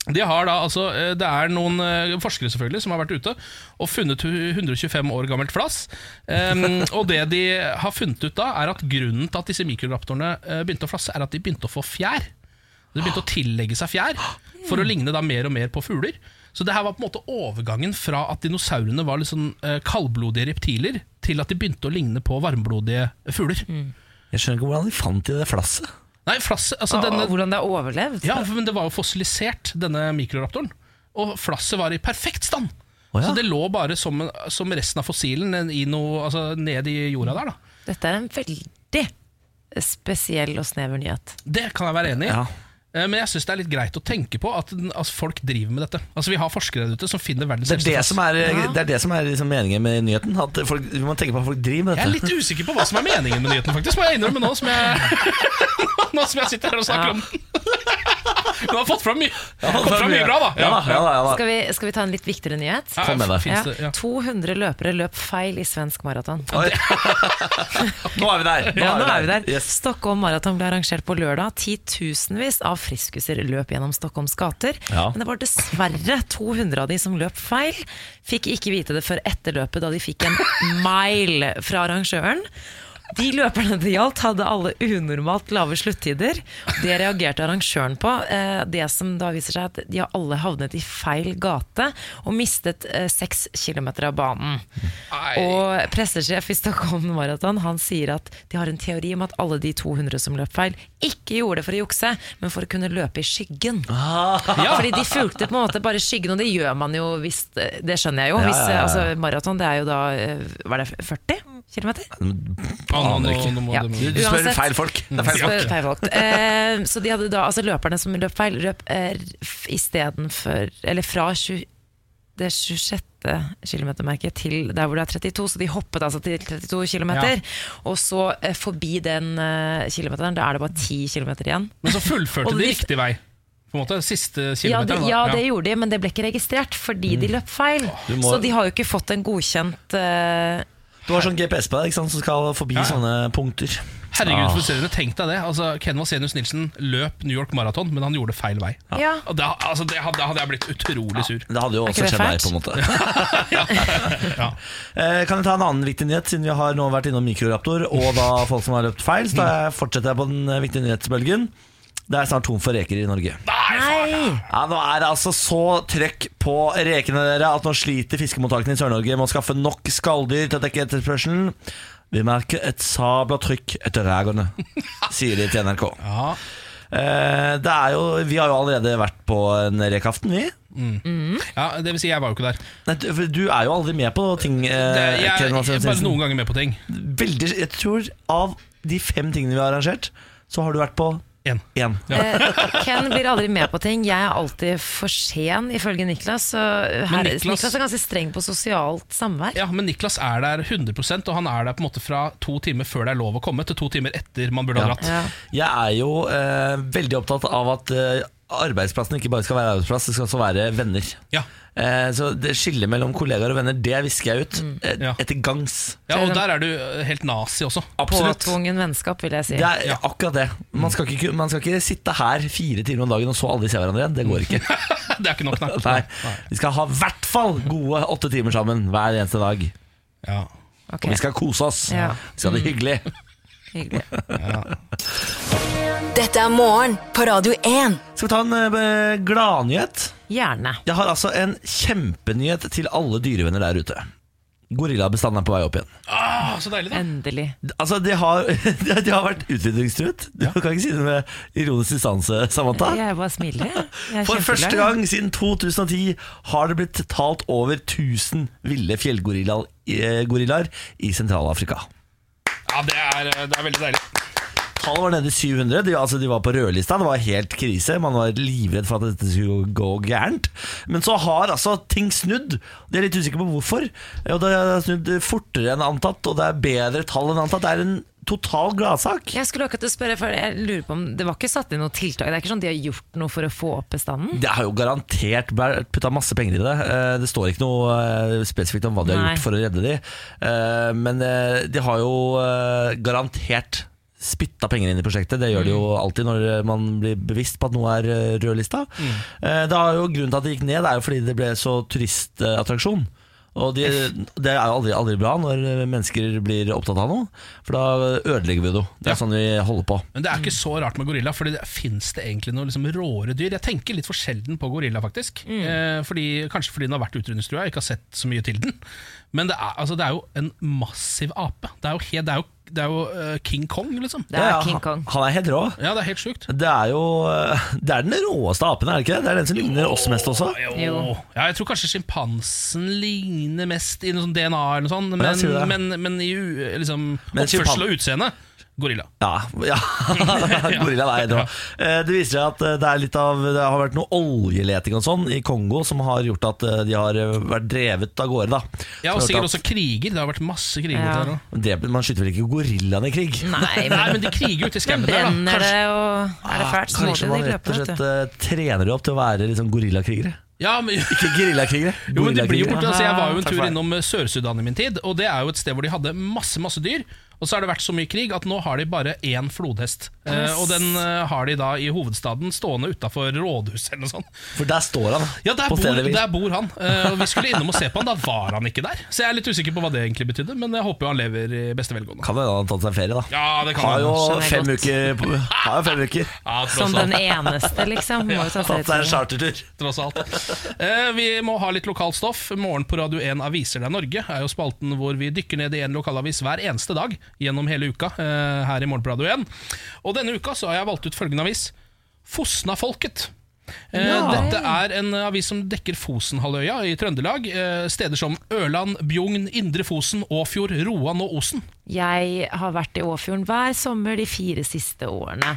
S4: De har da, altså, eh, Det er noen eh, forskere selvfølgelig som har vært ute og funnet hu- 125 år gammelt flass. Em, og det de har funnet ut da, er at grunnen til at disse mikroraptorene eh, begynte å flasse, er at de begynte å få fjær. De begynte å tillegge seg fjær for å ligne da mer og mer på fugler. Så det her var på en måte overgangen fra at dinosaurene var litt sånn eh, kaldblodige reptiler, til at de begynte å ligne på varmblodige fugler.
S1: Jeg skjønner ikke hvordan de fant i det flasset.
S4: Nei, flasset,
S1: Ah,
S4: altså
S2: Og- og
S4: denne,
S2: Hvordan det har overlevd?
S4: ja, men det var jo fossilisert, denne mikroraptoren. Og flasset var i perfekt stand.
S1: Å, ja.
S4: Så det lå bare som, en- som resten av fossilen i noe, altså, ned i jorda der. Da.
S2: Dette er en veldig spesiell og snever nyhet.
S4: Det kan jeg være enig i.
S1: Ja.
S4: Eh, Men jeg syns det er litt greit å tenke på at den- altså, folk driver med dette. Altså Vi har forskere der ute som finner verdens
S1: Det er det
S4: eldste
S1: som
S4: flass.
S1: er, det er, det som er liksom meningen med nyheten. At folk, vi må tenke på at folk driver med
S4: Jeg er
S1: dette.
S4: litt usikker på hva som er meningen med nyheten, faktisk. Må jeg innrømme nå som jeg, nå som jeg sitter her og snakker
S2: Ja.
S4: om den. Du har fått fram mye, fått fram
S1: Ja,
S4: mye bra, da.
S1: Ja, da, ja, da, ja, da.
S2: Skal vi, skal vi ta en litt viktigere nyhet?
S1: Kom med det.
S4: Finnes det Ah. ja.
S2: 200 løpere løp feil i svensk maraton.
S1: Oi. Nå er vi der.
S2: Ja, nå er vi der.
S1: Yes.
S2: Stockholm Maraton ble arrangert på lørdag. Titusenvis av friskuser løp gjennom Stockholms gater.
S1: Ja.
S2: Men det var dessverre 200 av de som løp feil. Fikk ikke vite det før etter løpet, da de fikk en mile fra arrangøren. De løperne det gjaldt, hadde alle unormalt lave sluttider. Det reagerte arrangøren på. Eh, Det som da viser seg at de har alle havnet i feil gate og mistet eh, seks kilometer av banen.
S4: Nei.
S2: Og pressesjef i Stockholm Marathon Han sier at de har en teori om at alle de 200 som løp feil, ikke gjorde det for å jukse, men for å kunne løpe i skyggen.
S1: Ah.
S2: Fordi de fulgte på en måte bare skyggen, og det gjør man jo hvis Det skjønner jeg jo. Hvis,
S1: ja, ja.
S2: altså, maraton det er jo da eh, Hva er det, 40 km?
S4: Ah, nå-
S1: Aner
S4: nå-
S1: ikke.
S4: nå må
S2: Ja.
S4: det-
S1: Du spør
S2: Uansett- Mm.
S1: feil folk. Det er feil folk.
S2: Spør feil folk. Eh, så de hadde da, altså løperne som løp feil, løp eh, f- istedenfor Eller fra 20, det 26. kilometermerket til der hvor det er 32, så de hoppet altså til 32 kilometer. Og så eh, forbi den eh, kilometeren, da er det bare 10 kilometer igjen.
S4: Men så fullførte
S2: Og
S4: de
S2: de-
S4: riktig vei. på en måte? Siste
S2: Ja det,
S4: kilometeren?
S2: ja, Mm.
S4: da.
S2: det gjorde de, men det ble ikke registrert fordi de løp feil.
S1: Du må-
S2: Så de har jo ikke fått en godkjent eh,
S1: Du har sånn GPS på deg ikke sant, som skal forbi
S4: Ja.
S1: sånne punkter.
S4: Herregud,
S1: Ah.
S4: frustrerende. Tenk deg det. Altså, Ken Vasenius Nilsen løp New York Marathon, men han gjorde feil vei.
S2: Ja.
S4: Og da, altså, det, had- da hadde jeg blitt utrolig sur.
S1: Det hadde jo
S2: Er ikke
S1: også
S2: det
S1: skjedd deg,
S2: fælt?
S1: på en måte.
S4: Ja.
S1: Eh, Kan jeg ta en annen viktig nyhet, siden vi har nå vært innom mikroraptor og da folk som har løpt feil. Så da jeg fortsetter jeg på den eh, viktige nyhetsbølgen. Det er snart tomt for reker i Norge.
S2: Nei!
S1: Ja, Nå er det altså så trøkk på rekene dere at nå sliter fiskemottakene i Sør-Norge med å skaffe nok skalldyr til å dekke etterspørselen. Vi merker et sabla trykk etter rekene, sier de til NRK.
S4: Ja.
S1: Eh, det er jo, vi har jo allerede vært på en rekaften, vi.
S4: ja, Det vil si, jeg var jo ikke der.
S1: Nei, Du du er jo aldri med på ting. Eh,
S4: Det, jeg, jeg,
S1: Ken Hansen
S4: er bare
S1: Jensen.
S4: noen ganger med på ting.
S1: Veldig, jeg tror av de fem tingene vi har arrangert, så har du vært på
S4: En.
S1: én.
S2: Eh, Ken blir aldri med på ting. Jeg er alltid for sen, ifølge Niklas. Så eh, her,
S4: Niklas-
S2: Niklas... er ganske streng på sosialt samvær.
S4: Ja, Men Niklas er der 100 og han er der på en måte fra to timer før det er lov å komme, til to timer etter man burde ha dratt.
S2: Ja.
S1: Jeg er jo eh, veldig opptatt av at eh, arbeidsplassen ikke bare skal være arbeidsplass, det skal også være venner.
S4: Ja.
S1: Eh, så det skillet mellom kollegaer og venner, det visker jeg ut eh,
S4: Mm. Ja.
S1: etter gangs.
S4: ja, Og der er du eh, helt nazi også.
S2: Påtvungen vennskap, vil jeg si.
S1: Det er
S4: Ja.
S1: akkurat det. Man skal, ikke, ku- man skal ikke sitte her fire timer om dagen og så aldri se hverandre igjen. Det går ikke.
S4: det er ikke nok, nei.
S1: Nei. Vi skal ha i hvert fall gode åtte timer sammen hver eneste dag.
S4: Ja. Mm.
S2: Ok,
S1: Og vi skal kose oss.
S2: Ja.
S1: Vi skal ha det hyggelig.
S2: hyggelig.
S5: Dette er morgen på Radio 1.
S1: Skal vi ta en eh, gladnyhet?
S2: Gjerne.
S1: Jeg har altså en kjempenyhet til alle dyrevenner der ute. Gorillabestanden er på vei opp igjen.
S4: Ah, så deilig, da.
S2: Endelig.
S1: Altså, De har, de har vært utryddingstruet. Du kan ikke si det med ironisk distanse, Samantha.
S2: Jeg bare smiler. jeg. Jeg er
S1: For første
S2: kjempeglad.
S1: gang siden 2010 har det blitt talt over 1000 ville fjellgorillaer eh, gorillaer i Sentral-Afrika.
S4: Ja, det er, eh, det er veldig deilig.
S1: Tallet var nede i 700. De, altså, de var på rødlista. Det var helt krise. Man var livredd for at dette skulle gå gærent. Men så har altså ting snudd. De er litt usikre på hvorfor. Og det har snudd fortere enn antatt, og det er bedre tall enn antatt. Det er en total gladsak.
S2: Jeg skulle akkurat til å spørre, for jeg lurer på om det var ikke satt inn noe tiltak? Det er ikke sånn de har gjort noe for å få opp bestanden?
S1: Det har jo garantert vært putta masse penger i det. Eh, Det står ikke noe eh, spesifikt om hva de har
S2: Nei.
S1: gjort for å redde de. Eh, Men eh, de har jo eh, garantert spytta penger inn i prosjektet. Det gjør de jo
S2: Mm.
S1: alltid når man blir bevisst på at noe er eh, rødlista.
S2: Mm.
S1: Eh, Det har jo Grunnen til at det gikk ned, er jo fordi det ble så turistattraksjon. Og de, Det er jo aldri, aldri bra når eh, mennesker blir opptatt av noe, for da ødelegger vi det jo. Det
S4: Ja.
S1: er sånn vi holder på.
S4: Men det er ikke så rart med gorilla, Fordi det fins det egentlig noe liksom råere dyr? Jeg tenker litt for sjelden på gorilla, faktisk. Eh, fordi, kanskje fordi den har vært utrydningstrua, jeg ikke har sett så mye til den. Men det er, altså, det er jo en massiv ape. Det er jo, helt, det er jo, det er jo eh, King Kong, liksom.
S2: Det er
S1: Ja, ja,
S2: King
S1: han-
S2: Kong.
S1: Han er helt rå.
S4: Ja, det er helt sjukt.
S1: Det er jo eh, Det er den råeste apen, er det ikke det? Det er den som ligner oss mest også.
S4: Jo.
S2: Jo.
S4: Ja, jeg tror kanskje sjimpansen ligner mest i noe sånn DNA, eller noe sånt,
S1: Ja,
S4: men,
S1: sier du det?
S4: men, men i u- liksom,
S1: Men
S4: oppførsel
S1: sjimpan-
S4: og utseende gorilla.
S1: Ja. ja. Gorilla er helt rå. Eh, Det viser seg at eh, det, er litt av, det har vært noe oljeleting og sånn i Kongo som har gjort at eh, de har eh, vært drevet av gårde. Da.
S4: Ja, og
S1: Så
S4: sikkert
S1: at-
S4: også kriger. Det har vært masse kriger.
S2: Ja.
S4: der også.
S1: det, Man skyter vel ikke gorillaen i krig?
S2: Nei,
S4: Nei,
S2: men
S4: men de kriger ute i skauen der, da.
S2: brenner det, og er det fælt, så må
S1: Ah, Kanskje
S2: du
S1: man
S2: de
S1: rett
S2: løpe,
S1: og
S2: vet
S1: slett
S2: du.
S1: eh, trener de opp til å være liksom gorillakrigere?
S4: Ja, men,
S1: Ikke gerillakrigere.
S4: Jo, men de blir jo
S1: Gorillakrigere.
S4: borte. Altså, jeg var jo en
S1: Takk
S4: tur
S1: for det.
S4: innom eh, Sør-Sudan i min tid, og det er jo et sted hvor de hadde masse masse dyr. Og så har det vært så mye krig at nå har de bare én flodhest. Eh, og den eh, har de da i hovedstaden stående utafor rådhuset eller noe sånt.
S1: For der står han,
S4: altså. Ja, der
S1: på
S4: bor,
S1: stedet hvil.
S4: der bor han. Eh, og vi skulle innom og se på han, da var han ikke der. Så jeg er litt usikker på hva det egentlig betydde, men jeg håper jo han lever i beste velgående.
S1: Kan hende han har tatt seg ferie, da.
S4: Ja, det kan
S1: Har jo
S4: han.
S2: Skjønner jeg
S1: fem
S2: godt.
S1: uker, på- har jo fem uker.
S4: Ja,
S2: Som
S4: tross
S2: den
S4: alt.
S2: eneste, liksom. Må jo
S1: Tatt
S2: ta
S1: seg en
S2: selvtillit.
S1: chartertur.
S4: Tross alt. Eh, vi må ha litt lokalt stoff. Morgen på Radio 1 Aviser deg Norge er jo spalten hvor vi dykker ned i en lokalavis hver eneste dag gjennom hele uka eh, her i Morgen på Radio 1. Og denne uka så har jeg valgt ut følgende avis. Fosnafolket. Eh, Dette er en avis som dekker Fosenhalvøya i Trøndelag. Eh, steder som Ørland, Bjugn, Indre Fosen, Åfjord, Roan og Osen.
S2: Jeg har vært i Åfjorden hver sommer de fire siste årene.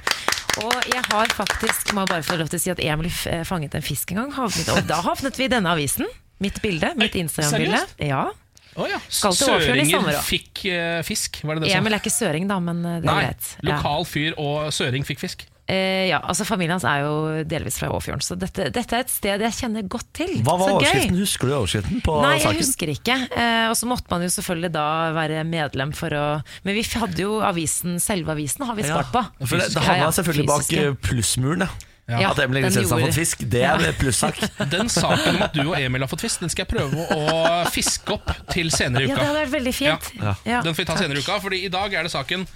S2: Og jeg har faktisk, må jeg bare få lov til å si at Emil f- eh, fanget en fisk en gang. Havnet, og da havnet vi i denne avisen. Mitt bilde, mitt
S4: Nei,
S2: Instagram-bilde.
S4: seriøst?
S2: Ja.
S4: Oh, ja.
S2: Skal til Åfjord i sommer,
S4: Søringer
S2: da.
S4: fikk eh, fisk, var det det som
S2: Emil er ikke søring, da, men eh, det er
S4: Nei,
S2: greit. Ja.
S4: lokal fyr og søring fikk fisk.
S2: Eh, ja, altså Familien hans er jo delvis fra Åfjorden, så dette, dette er et sted jeg kjenner godt til.
S1: Hva var
S2: så gøy.
S1: overskriften? Husker du overskriften på
S2: Nei, jeg
S1: saken?
S2: husker ikke. Eh, og så måtte man jo selvfølgelig da være medlem for å Men vi hadde jo avisen, selve avisen har vi spart på.
S1: For det, det havna selvfølgelig bak
S2: fysiske.
S1: eh, plussmuren, ja.
S2: Ja,
S1: At Emil
S2: den
S1: Kristiansen har
S2: gjorde-
S1: fått fisk, det er en plussak.
S4: Den saken om at du og Emil har fått fisk, den skal jeg prøve å fiske opp til senere i
S2: Ja,
S4: uka.
S2: det hadde vært veldig fint.
S1: Ja,
S2: Ja.
S4: Den får vi ta senere i uka, Fordi i dag er det saken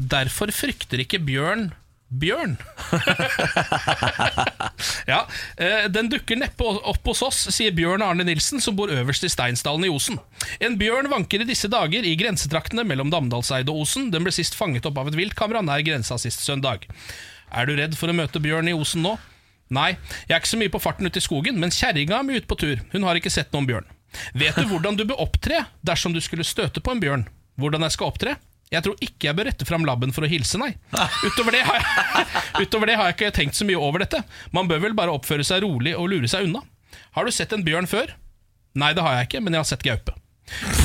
S4: 'Derfor frykter ikke bjørn bjørn'. ja, eh, Den dukker neppe opp hos oss, sier Bjørn Arne Nilsen, som bor øverst i Steinsdalen i Osen. En bjørn vanker i disse dager i grensetraktene mellom Damdalseid og Osen. Den ble sist fanget opp av et viltkamera nær grensa sist søndag. Er du redd for å møte bjørn i Osen nå? Nei, jeg er ikke så mye på farten ute i skogen, men kjerringa mi ute på tur. Hun har ikke sett noen bjørn. Vet du hvordan du bør opptre dersom du skulle støte på en bjørn? Hvordan jeg skal opptre? Jeg tror ikke jeg bør rette fram labben for å hilse, nei. Utover det, har jeg, utover det har jeg ikke tenkt så mye over dette. Man bør vel bare oppføre seg rolig og lure seg unna. Har du sett en bjørn før? Nei, det har jeg ikke, men jeg har sett gaupe.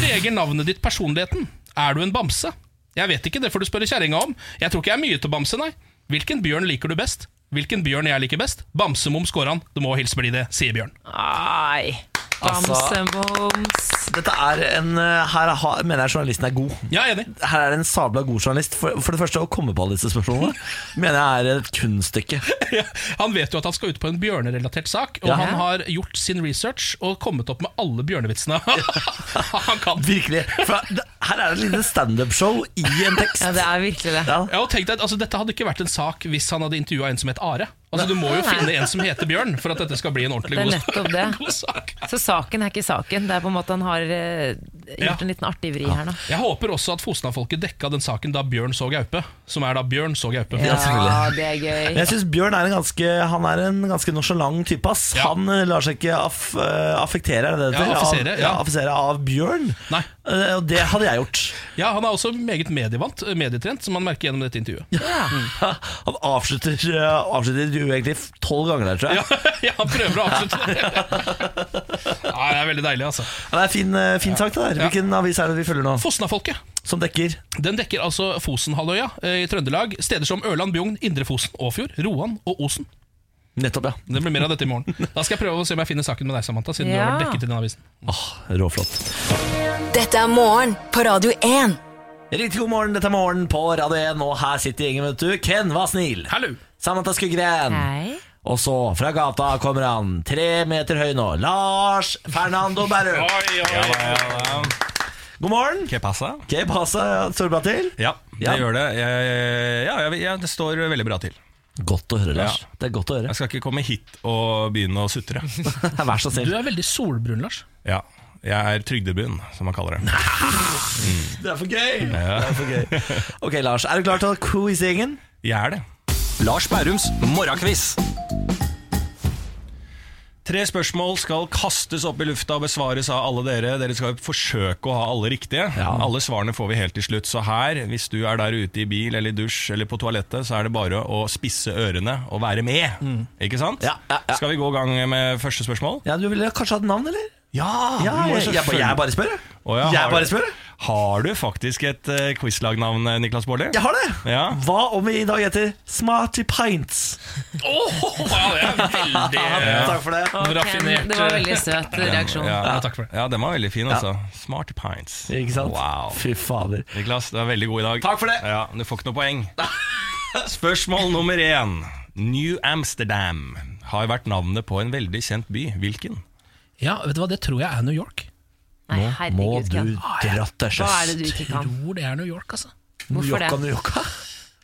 S4: Preger navnet ditt personligheten? Er du en bamse? Jeg vet ikke, det får du spørre kjerringa om. Jeg tror ikke jeg er mye til bamse, nei. Hvilken bjørn liker du best? Hvilken bjørn jeg liker best? Bamsemums går an. Du må hilse bli det, sier Bjørn.
S2: Ai.
S1: Altså-
S2: Bamsemums.
S1: Dette er en, eh, her har- mener jeg journalisten er god.
S4: Jeg er enig.
S1: Her er det en sabla god journalist. For, for det første, å komme på alle disse spørsmålene mener jeg er et kunststykke.
S4: Ja, Han vet jo at han skal ut på en bjørnerelatert sak, og
S1: Ja.
S4: han har gjort sin research og kommet opp med alle bjørnevitsene han kan.
S1: Virkelig. For det, her er det et lite standup-show i en tekst.
S2: Ja, det er virkelig det.
S1: Ja.
S4: Ja, og tenk deg, at, altså, dette hadde ikke vært en sak hvis han hadde intervjua en som het Are. Altså, du må jo
S2: Nei.
S4: finne en som heter Bjørn, for at dette skal bli en ordentlig
S2: Det er
S4: god,
S2: nettopp det.
S4: god sak.
S2: Så saken er ikke saken. Det er på en måte han har eh, gjort
S4: Ja.
S2: en liten artig vri her nå.
S4: Jeg håper også at Fosna-folket dekka den saken da Bjørn så gaupe. Som er da Bjørn så gaupe.
S1: Ja, selvfølgelig.
S2: det
S1: Men
S2: er gøy.
S1: Jeg synes Bjørn er en ganske Han er en ganske nonchalant type. ass
S4: Ja.
S1: Han eh, lar seg ikke aff, eh, affektere er det det
S4: Ja,
S1: heter?
S4: affisere,
S1: av,
S4: ja.
S1: affisere av Bjørn.
S4: Nei.
S1: Eh, Og det hadde jeg gjort.
S4: Ja, Han er også meget medievant, eh, medietrent, som man merker gjennom dette intervjuet.
S1: Han avslutter, eh, avslutter jo egentlig tolv ganger der, tror jeg.
S4: Ja, ja han prøver å avslutte det. Nei, det er veldig deilig, altså.
S1: Det er fin, eh, fin sak, det der.
S4: Ja.
S1: Hvilken avis er det vi følger nå?
S4: Fosna-folket.
S1: Som dekker
S4: Den dekker altså Fosenhalvøya eh, i Trøndelag, steder som Ørland, Bjugn, Indre Fosen, Åfjord, Roan og Osen.
S1: Nettopp, ja.
S4: Det blir mer av dette i morgen. Da skal jeg prøve å se om jeg finner saken med deg, Samantha. Siden du
S2: Ja.
S4: har vært dekket i den avisen
S1: Åh, Råflott.
S5: Dette er morgen på Radio 1.
S1: Riktig god morgen, dette er Morgen på Radio 1, og her sitter gjengen, vet du. Ken var snill.
S4: Hallo!
S1: Samantha Skuggren.
S2: Hei.
S1: Og så, fra gata kommer han, tre meter høy nå, Lars Fernando Berrum. God morgen.
S8: Ok, passa.
S1: Ok, passa, står det bra til?
S8: Ja, det
S1: Ja.
S8: gjør det. Jeg, ja, jeg, jeg, det står veldig bra til.
S1: Godt å høre, Lars.
S8: Ja.
S1: Det er godt å høre.
S8: Jeg skal ikke komme hit og begynne å sutre.
S1: Vær så
S4: Du
S1: snill.
S4: er veldig solbrun, Lars.
S8: Ja, jeg er trygdebuen, som man kaller det.
S1: Det er for gøy. Det er for gøy. Ok, Lars, er du klar til å quize gjengen?
S8: Jeg er det.
S9: Lars Bærums morgenkviss.
S8: Tre spørsmål skal kastes opp i lufta og besvares av alle dere. Dere skal forsøke å ha alle riktige. Alle svarene får vi helt til slutt. Så her, hvis du er der ute i bil eller i dusj eller på toalettet, så er det bare å spisse ørene og være med. Ikke sant?
S1: Mm. Ja, ja, ja.
S8: Skal vi gå i gang med første spørsmål?
S1: Ja, Du ville kanskje hatt navn, eller?
S8: Ja!
S1: Ja, jeg, jeg, jeg, bare spør, jeg.
S8: Å, ja, har
S1: jeg
S8: du-
S1: bare spør, jeg.
S8: Har du faktisk et eh, quizlagnavn, eh, Niklas Baarli?
S1: Jeg har det!
S8: Ja.
S1: Hva om vi i dag heter Smarty Pints?
S4: Åh, ja, det er veldig
S1: Takk for det.
S2: Og Ken,
S4: Raffinert,
S2: det var
S4: eh,
S2: veldig søt reaksjon.
S8: Ja.
S4: Ja, takk for det.
S8: Ja, den var veldig fin, altså. Smart pints.
S1: Ikke sant?
S8: Wow.
S1: Fy fader.
S8: Niklas, du er veldig god i dag.
S1: Takk for det.
S8: Ja, Du får ikke noe poeng. Spørsmål nummer én. New Amsterdam har vært navnet på en veldig kjent by. Hvilken?
S4: Ja, vet du hva, det tror jeg er New York.
S2: Nei,
S1: Må
S2: herregud,
S1: du
S2: Ken.
S1: dra til
S2: Hva er det du
S1: sjøs?
S2: ikke kan?
S4: Tror det er New York, altså.
S2: Hvorfor det?
S1: Njokka, njokka.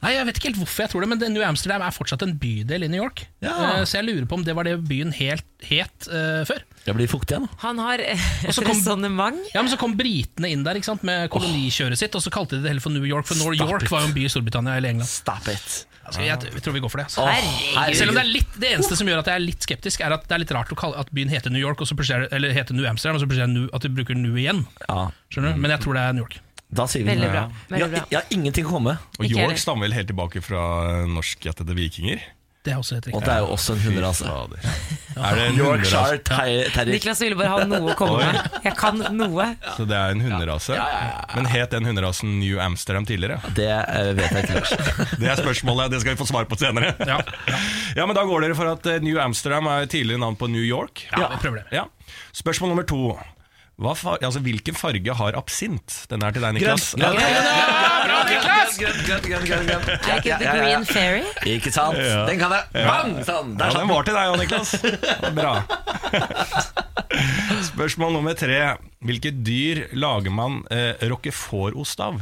S4: Nei, Jeg vet ikke helt hvorfor jeg tror det, men det- New Amsterdam er fortsatt en bydel i New York.
S1: Ja.
S4: Eh, Så jeg lurer på om det var det byen helt het eh, før.
S1: Jeg blir fuktig igjen.
S2: Han har et
S4: så kom-
S2: resonnement.
S4: Ja, men Så kom britene inn der ikke sant, med kolonikjøret sitt, og så kalte de det heller for New York, for New
S1: Stop
S4: York
S1: it.
S4: var jo en by i Storbritannia eller England.
S1: Stop it.
S4: Så jeg, jeg tror vi går for det. altså.
S2: Herregud.
S4: Selv om det er litt, det eneste som gjør at jeg er litt skeptisk, er at det er litt rart å kalle at byen heter New York, og så plutselig er det- eller heter New Amsterdam, og så plutselig er det New, at de bruker New igjen.
S1: Ja,
S4: Skjønner du? Men jeg tror det er New York.
S1: da sier vi
S2: Veldig
S1: det.
S2: bra.
S1: Jeg,
S2: Veldig bra.
S1: jeg har ingenting å komme med.
S8: Og
S2: Ikke
S8: York
S2: heller.
S8: stammer vel helt tilbake fra eh, norskgjettede vikinger?
S4: Det er også helt
S1: Og
S4: riktig.
S1: det er jo også en altså. hunderase.
S8: Er det en hunderase?
S1: Yorkshire Ter- Terrier.
S2: Niklas ville bare ha noe å komme med. Jeg kan noe.
S8: Så det er en hunderase? Men het den hunderasen New Amsterdam tidligere?
S1: Det eh, vet jeg ikke, Lars.
S8: Det er spørsmålet, det skal vi få svar på senere.
S4: Ja.
S8: Ja, men Da går dere for at eh, New Amsterdam er tidligere navn på New York.
S4: Ja, vi prøver det.
S8: Ja. Spørsmål nummer to. Hva far altså, hvilken farge har absint? Den er til deg, Niklas.
S1: Grønn, grønn,
S2: Er ikke The Green Fairy?
S1: Ikke sant? Den kan jeg. Bang! Sånn.
S8: Ja,
S1: Der satt
S8: den
S1: den.
S8: var til deg òg, Niklas. Ja, Bra. Spørsmål nummer tre. Hvilket dyr lager man eh, roquefort-ost av?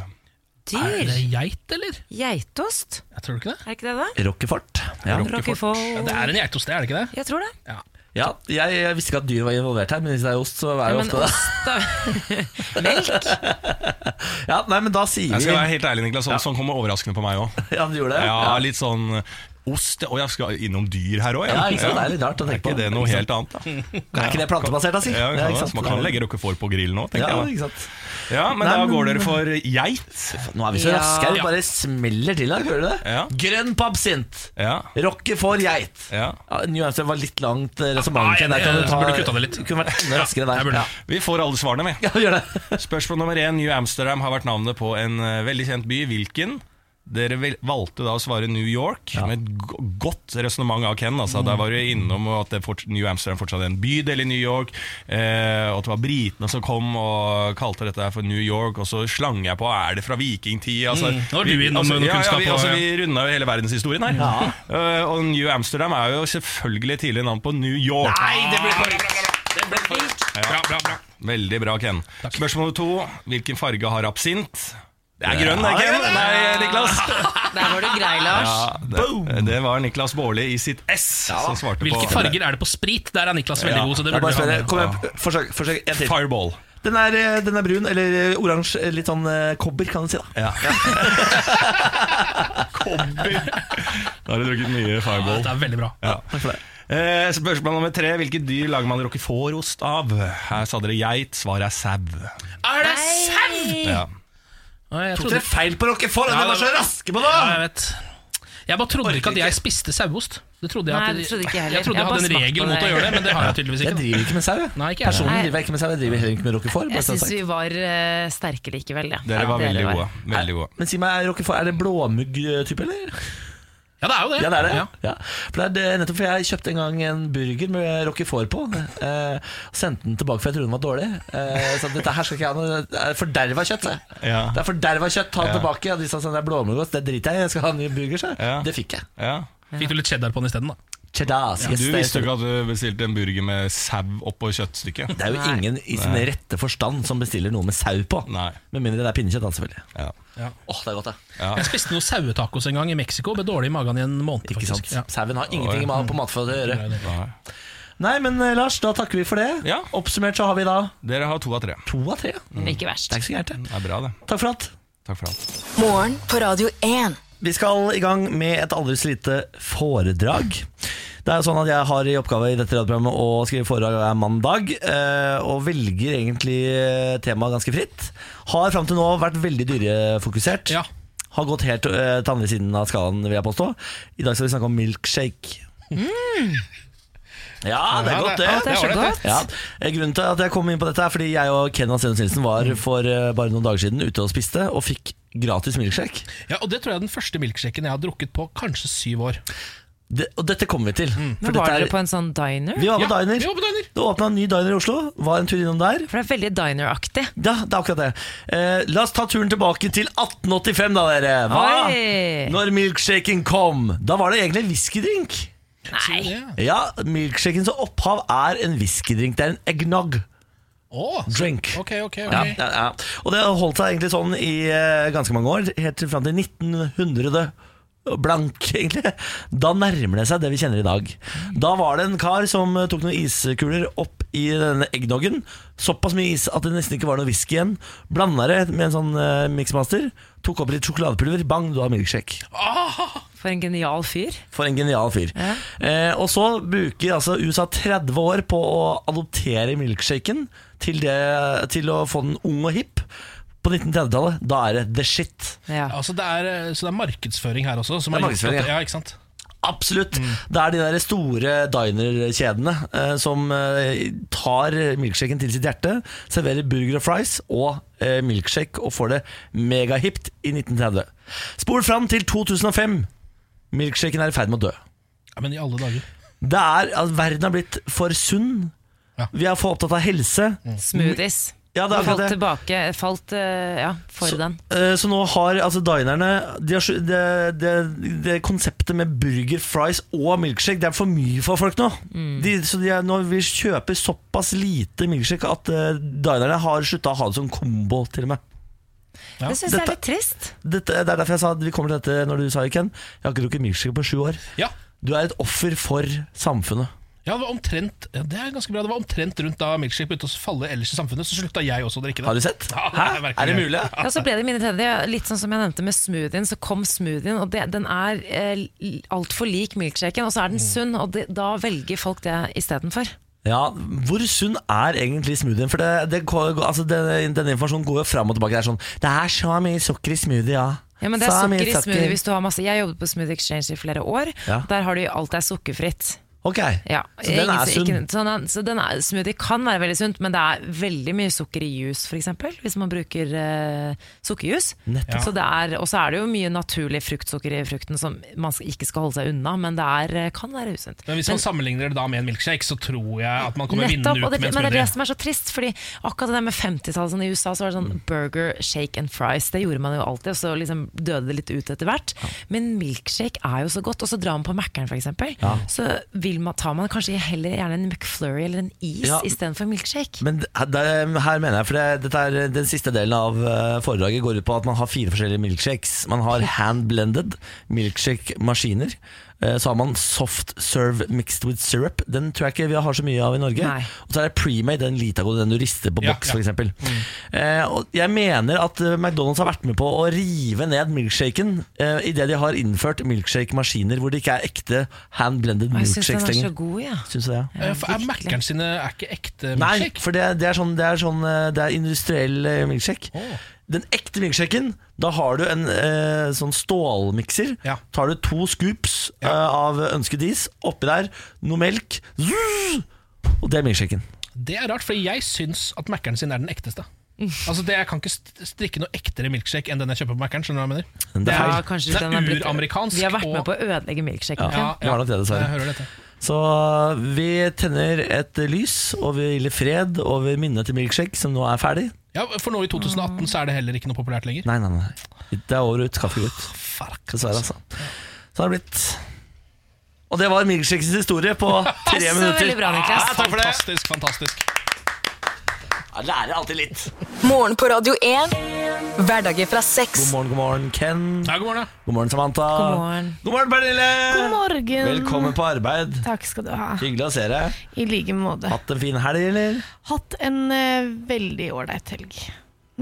S4: Er
S2: Dyr?
S4: det geit, eller?
S2: Geitost?
S4: Jeg tror ikke det.
S2: Er ikke det det?
S1: Rockefort. Ja.
S4: Ja,
S2: Rockefort?
S4: det er en geitost, det er det ikke det?
S2: Jeg tror det.
S4: Ja.
S1: ja, jeg, jeg visste ikke at dyr var involvert her, men hvis det er ost, så er det
S2: Men
S1: ofte det.
S2: ost da- Melk?
S1: Ja, nei, men da sier
S8: Jeg
S1: vi
S8: skal være helt ærlig, Niklas, sånn, sånn kommer overraskende på meg òg.
S1: Ja, du gjorde det?
S8: Ja, litt sånn ost Og jeg skal innom dyr her òg,
S1: Ja, ikke sant? Det er litt rart å tenke på.
S8: ikke det noe helt annet, da?
S1: Er ikke det plantebasert, da, si? Ja,
S8: Ja, kan,
S1: ikke
S8: det.
S1: sant?
S8: man kan legge roquefort på grillen òg,
S1: ja,
S8: tenker jeg.
S1: ikke sant?
S8: Da. Ja, Men
S1: Nei,
S8: da
S1: men-
S8: går dere for geit.
S1: Nå er vi så
S2: Ja.
S1: raske her, vi bare smeller til her, hører du det?
S8: Ja.
S1: Grønn på absint!
S8: Ja,
S1: Rocke for geit!
S8: ja.
S1: Ja, New Amsterdam var litt langt eh, resonnement.
S4: Nei, jeg burde kutta det litt.
S1: kunne vært enda raskere
S4: jeg
S1: der.
S4: burde.
S1: Ja,
S8: Vi får alle svarene, vi.
S1: ja, gjør det.
S8: Spørsmål nummer én. New Amsterdam har vært navnet på en eh, veldig kjent by. Hvilken? Dere vel- valgte da å svare New York, med et go- godt resonnement av Ken. Altså. Der var du innom at det fort, New Amsterdam fortsatt er en bydel i New York, eh, og at det var britene som kom og kalte dette her for New York, og så slang jeg på er det fra vikingtida? Altså,
S4: Mm, nå var du
S8: vi-
S4: innom
S8: altså,
S4: noe
S8: ja, ja,
S4: kunnskap
S8: vi,
S4: og-
S8: altså, vi runda jo hele verdenshistorien her. Eh, og New Amsterdam er jo selvfølgelig tidligere navn på New York.
S4: det blir Bra, bra, bra.
S8: Veldig bra, Ken. Spørsmål nummer to. Hvilken farge har absint? Det er grønn, det, Ken. Nei, Niklas.
S2: Der var du grei, Lars.
S8: Ja, det, det var Niklas Baarli i sitt S som svarte
S4: Hvilke
S8: på
S4: farger er det på sprit? Der er Niklas veldig
S8: Ja.
S4: god. Så det
S1: Jeg bare sånn
S4: burde
S1: spør,
S4: han
S1: kom igjen, forsøk, forsøk en til.
S8: Fireball.
S1: Den er, eh, den er brun, eller eh, oransje, eh, litt sånn eh, kobber, kan du si. da
S8: Ja. Kobber. Da har du drukket mye
S4: Ja,
S8: Fireball.
S4: det er veldig bra.
S8: Ja. Eh, spørsmål nummer tre. Hvilket dyr lager man roquefort-ost av? Her sa dere geit. Svaret er sau.
S4: Er det sau?!
S8: Ja.
S4: Nei, Jeg,
S1: Tok
S4: trodde,
S1: dere feil på Rockefort?
S4: Ja,
S1: Dere var så
S4: det-
S1: raske på
S4: ja,
S1: det!
S4: jeg vet Jeg bare trodde ikke at jeg spiste sauost. Det trodde jeg,
S2: Nei,
S4: at,
S2: det trodde ikke jeg heller.
S4: jeg trodde
S2: Jeg
S4: jeg hadde
S2: bare
S4: en
S2: smakte
S4: regel
S2: på
S4: mot å
S2: det.
S4: gjøre det, men det har jeg tydeligvis
S1: Jeg
S4: ikke.
S1: driver ikke med sau. jeg.
S4: Nei, ikke jeg.
S1: Personlig
S2: Nei.
S1: driver jeg ikke med sau, jeg driver heller ikke med Rockefort.
S2: Jeg syns vi var eh, sterke likevel, ja.
S8: Dere var
S2: Ja,
S8: veldig
S2: var.
S8: gode. Veldig gode.
S1: Eh, Men si meg, er Rockefort, er det blåmugg-type, eller?
S4: Ja, det er jo det.
S1: Ja, det er det.
S4: Ja.
S1: Ja. For det er det- nettopp for jeg kjøpte en gang en burger med roquefort på. Eh, og sendte den tilbake, for jeg trodde den var dårlig. Eh, så dette her skal ikke jeg ha noe Det er forderva kjøtt, sa jeg.
S8: Ja.
S1: Det er forderva kjøtt, ta det tilbake. Ja, de sa sånn, det er blåmuggost, det driter jeg i, jeg skal ha en ny burger, sa jeg.
S8: Ja.
S1: Det fikk jeg.
S8: Ja.
S4: Fikk du litt cheddar på den isteden, da?
S1: Chedas, yes,
S8: Du
S1: det er-
S8: visste jo ikke at du bestilte en burger med sau oppå kjøttstykket.
S1: det er jo ingen i sin rette forstand som bestiller noe med sau på.
S8: Nei.
S1: Med mindre det er pinnekjøtt, da, selvfølgelig.
S8: Ja.
S1: Åh, det er godt, det.
S4: Jeg spiste noen sauetacos en gang i Mexico, ble dårlig i magen i en måned,
S1: Ikke sant?
S4: faktisk. Ja.
S1: Sauen har ingenting med på matfatet å gjøre.
S8: Nei.
S1: Nei, men eh, Lars, da takker vi for det.
S8: Ja.
S1: Oppsummert så har vi da Mm.
S8: Dere har to av tre.
S1: to av tre. Det
S2: Ikke verst.
S1: er ikke så gærent, det.
S8: Det er bra, det.
S1: Takk for alt.
S8: Takk for alt.
S5: Morgen på Radio 1.
S1: Vi skal i gang med et aldri så lite foredrag. Det er jo sånn at Jeg har i oppgave i dette radioprogrammet å skrive foredrag hver mandag, eh, og velger egentlig eh, temaet ganske fritt. Har fram til nå vært veldig dyrefokusert.
S4: Ja.
S1: Har gått helt eh, til andre siden av skalaen, vil jeg påstå. I dag skal vi snakke om milkshake. Mm. Ja, det er godt, det.
S2: Det er så godt.
S1: Ja. Eh, Grunnen til at jeg kom inn på dette er fordi jeg og Ken Asenus Nilsen var for eh, bare noen dager siden ute og spiste, og fikk gratis milkshake.
S4: Ja, og det tror jeg er den første milkshaken jeg har drukket på kanskje syv år.
S1: Det, og dette kommer vi til.
S2: Men
S1: for dette
S2: var
S1: er-
S2: dere på en sånn diner?
S1: Vi var på
S4: Ja,
S1: diner.
S4: vi var på diner.
S1: Det åpna en ny diner i Oslo. Var en tur innom der.
S2: For det er veldig diner-aktig.
S1: Ja, det er akkurat det. Eh, la oss ta turen tilbake til 1885, da, dere.
S2: Oi.
S1: Når milkshaken kom. Da var det egentlig en whiskydrink.
S2: Nei,
S1: Ja, milkshakens opphav er en whiskydrink. Det er en eggnog
S4: Åh,
S1: drink.
S4: ok, ok, ok.
S1: Ja, ja, ja. Og det har holdt seg egentlig sånn i eh, ganske mange år, helt til fram til 1900 blank, egentlig. Da nærmer det seg det vi kjenner i dag. Da var det en kar som eh, tok noen iskuler opp i denne eggnoggen. Såpass mye is at det nesten ikke var noe whisky igjen. Blanda det med en sånn eh, mixmaster. Tok oppi litt sjokoladepulver. Bang, du har milkshake.
S2: for en genial fyr.
S1: For en genial fyr. Eh, og så bruker altså USA 30 år på å adoptere milkshaken til, det, til å få den ung og hipp. På 1930-tallet, da er det the shit.
S2: Ja.
S4: Altså, det er, eh, så det er markedsføring her også? Som
S1: Det er
S4: har gjort at-
S1: markedsføring, ja.
S4: ja. ikke sant?
S1: Absolutt. Det er de der store dinerkjedene eh, som eh, tar milkshaken til sitt hjerte, serverer burger og fries og eh, milkshake og får det megahipt i 1930. Spol fram til 2005. Milkshaken er i ferd med å dø.
S4: Ja, men i alle dager.
S1: Det er, altså, Verden har blitt for sunn.
S4: Ja. Mm.
S1: Vi er for opptatt av helse.
S2: Smoothies.
S1: Ja, det er akkurat
S2: falt
S1: det.
S2: tilbake, falt eh, ja, for den.
S1: Eh, Så nå har altså dinerne de har, slu- det, det, det konseptet med burger, fries og milkshake Det er for mye for folk nå. De, så de er, når vi kjøper såpass lite milkshake at eh, dinerne har slutta å ha det som kombo. til og med
S2: Det syns jeg
S1: Dette-
S2: er litt trist.
S1: Dette, Det er derfor jeg sa at vi kommer til dette når du sa det, Ken. Jeg har ikke drukket milkshake på sju år.
S4: Ja.
S1: Du er et offer for samfunnet.
S4: Ja, det var omtrent ja, Det er ganske bra. Det var omtrent rundt da milkshake begynte å falle ellers i samfunnet, så slutta jeg også å drikke det.
S1: Har du sett?
S4: Ja, det er
S1: Hæ?
S4: virkelig-
S1: Er det mulig?
S2: Ja, så ble det mine tredje, litt sånn som jeg nevnte med smoothien, så kom smoothien, og det, den er eh, altfor lik milkshaken, og så er den
S8: Mm.
S2: sunn, og det, da velger folk det istedenfor.
S1: Ja, Hvor sunn er egentlig smoothien? For det, det, går- altså den, Denne informasjonen går jo fram og tilbake. Det er sånn Det er så mye sukker i smoothie, ja.
S2: Ja, men det er
S1: Så mye
S2: sukker i smoothie hvis du har masse Jeg jobbet på Smoothie Exchange i flere år.
S1: Ja.
S2: Der har de alt er sukkerfritt.
S1: Ok,
S2: Ja.
S1: så den
S2: Ingen-
S1: er sunn.
S2: Ikke, så den, så den er, smoothie kan være veldig sunt, men det er veldig mye sukker i juice, f.eks. Hvis man bruker eh, sukkerjuice.
S1: Nettopp.
S2: Så det er- Og så er det jo mye naturlig fruktsukker i frukten som man skal- ikke skal holde seg unna, men det er, eh, kan være usunt.
S4: Men hvis man sammenligner det da med en milkshake, så tror jeg at man kommer vinnende
S2: Nettopp,
S4: ut
S2: og det,
S4: med en
S2: men det er det
S4: smoothie.
S2: som er så trist, fordi akkurat det der med 50-tallet sånn, i USA, så var det
S4: Mm.
S2: sånn burger, shake and fries. Det gjorde man jo alltid, og så liksom døde det litt ut etter hvert. Men milkshake er jo så godt, og så drar man på Mækkern f.eks. eksempel Så vil man, tar man kanskje heller gjerne en McFlurry eller en is
S1: Ja.
S2: istedenfor milkshake.
S1: Men det- det- her mener jeg, for det, dette er den siste delen av eh, foredraget går ut på at man har fire forskjellige milkshakes. Man har hand-blended milkshake-maskiner. Eh, Så har man soft serve mixed with syrup. Den tror jeg ikke vi har så mye av i Norge.
S2: Nei.
S1: Og så er det pre-made, den Litago, den du rister på
S4: Ja,
S1: boks,
S4: ja. Mm.
S1: for eksempel Eh, og jeg mener at eh, McDonald's har vært med på å rive ned milkshaken eh, idet de har innført milkshake-maskiner hvor det ikke er ekte
S4: Mm.
S1: hand-blended
S2: Og jeg syns den
S1: milkshakes
S2: er så
S1: lenger.
S2: god, ja.
S1: Syns du det? Ja?
S4: Eh, for Er Mækkern sine er ikke ekte
S1: Nei,
S4: milkshake?
S1: for det, det, er sånn, det er sånn eh, Det er industriell eh, milkshake. Den ekte milkshaken, da har du en eh, sånn stålmikser.
S4: Ja.
S1: Tar du to scoops eh, av ønsket is, oppi der noe melk, zzz, og det er milkshaken.
S4: Det er rart, for jeg syns at Mækkern sin er den ekteste. Altså det, Jeg kan ikke st- strikke noe ektere milkshake enn den jeg kjøper på Mækkern. Skjønner du hva jeg mener?
S1: Men det er
S2: Ja,
S1: feil.
S2: kanskje
S4: Den
S2: den
S4: er
S2: har blitt-
S4: uramerikansk,
S2: Vi har vært med
S4: og-
S2: på å ødelegge milkshaken.
S4: Ja,
S2: Ken.
S1: det var nok det, dessverre.
S4: Jeg hører dette.
S1: Så eh, vi tenner et lys over Ille Fred over minnet til milkshake, som nå er ferdig.
S4: Ja, For nå i 2018 så er det heller ikke noe populært lenger.
S1: Nei, nei, nei. Det er over ut. Kaffe ut. Dessverre, altså. Så har det blitt. Og det var milkshakens historie på tre
S2: Så
S1: minutter.
S2: veldig bra, Niklas.
S4: Fantastisk, fantastisk.
S1: Jeg lærer alltid litt.
S5: Morgen på Radio 1. Hverdager fra seks.
S1: God morgen, god morgen, Ken.
S4: Ja, god morgen. da.
S1: God morgen, Samantha.
S2: God morgen.
S1: God morgen, Pernille.
S3: God morgen.
S1: Velkommen på arbeid.
S3: Takk skal du ha.
S1: Hyggelig å se deg.
S3: I like måte.
S1: Hatt en fin helg, eller?
S3: Hatt en eh, veldig ålreit helg.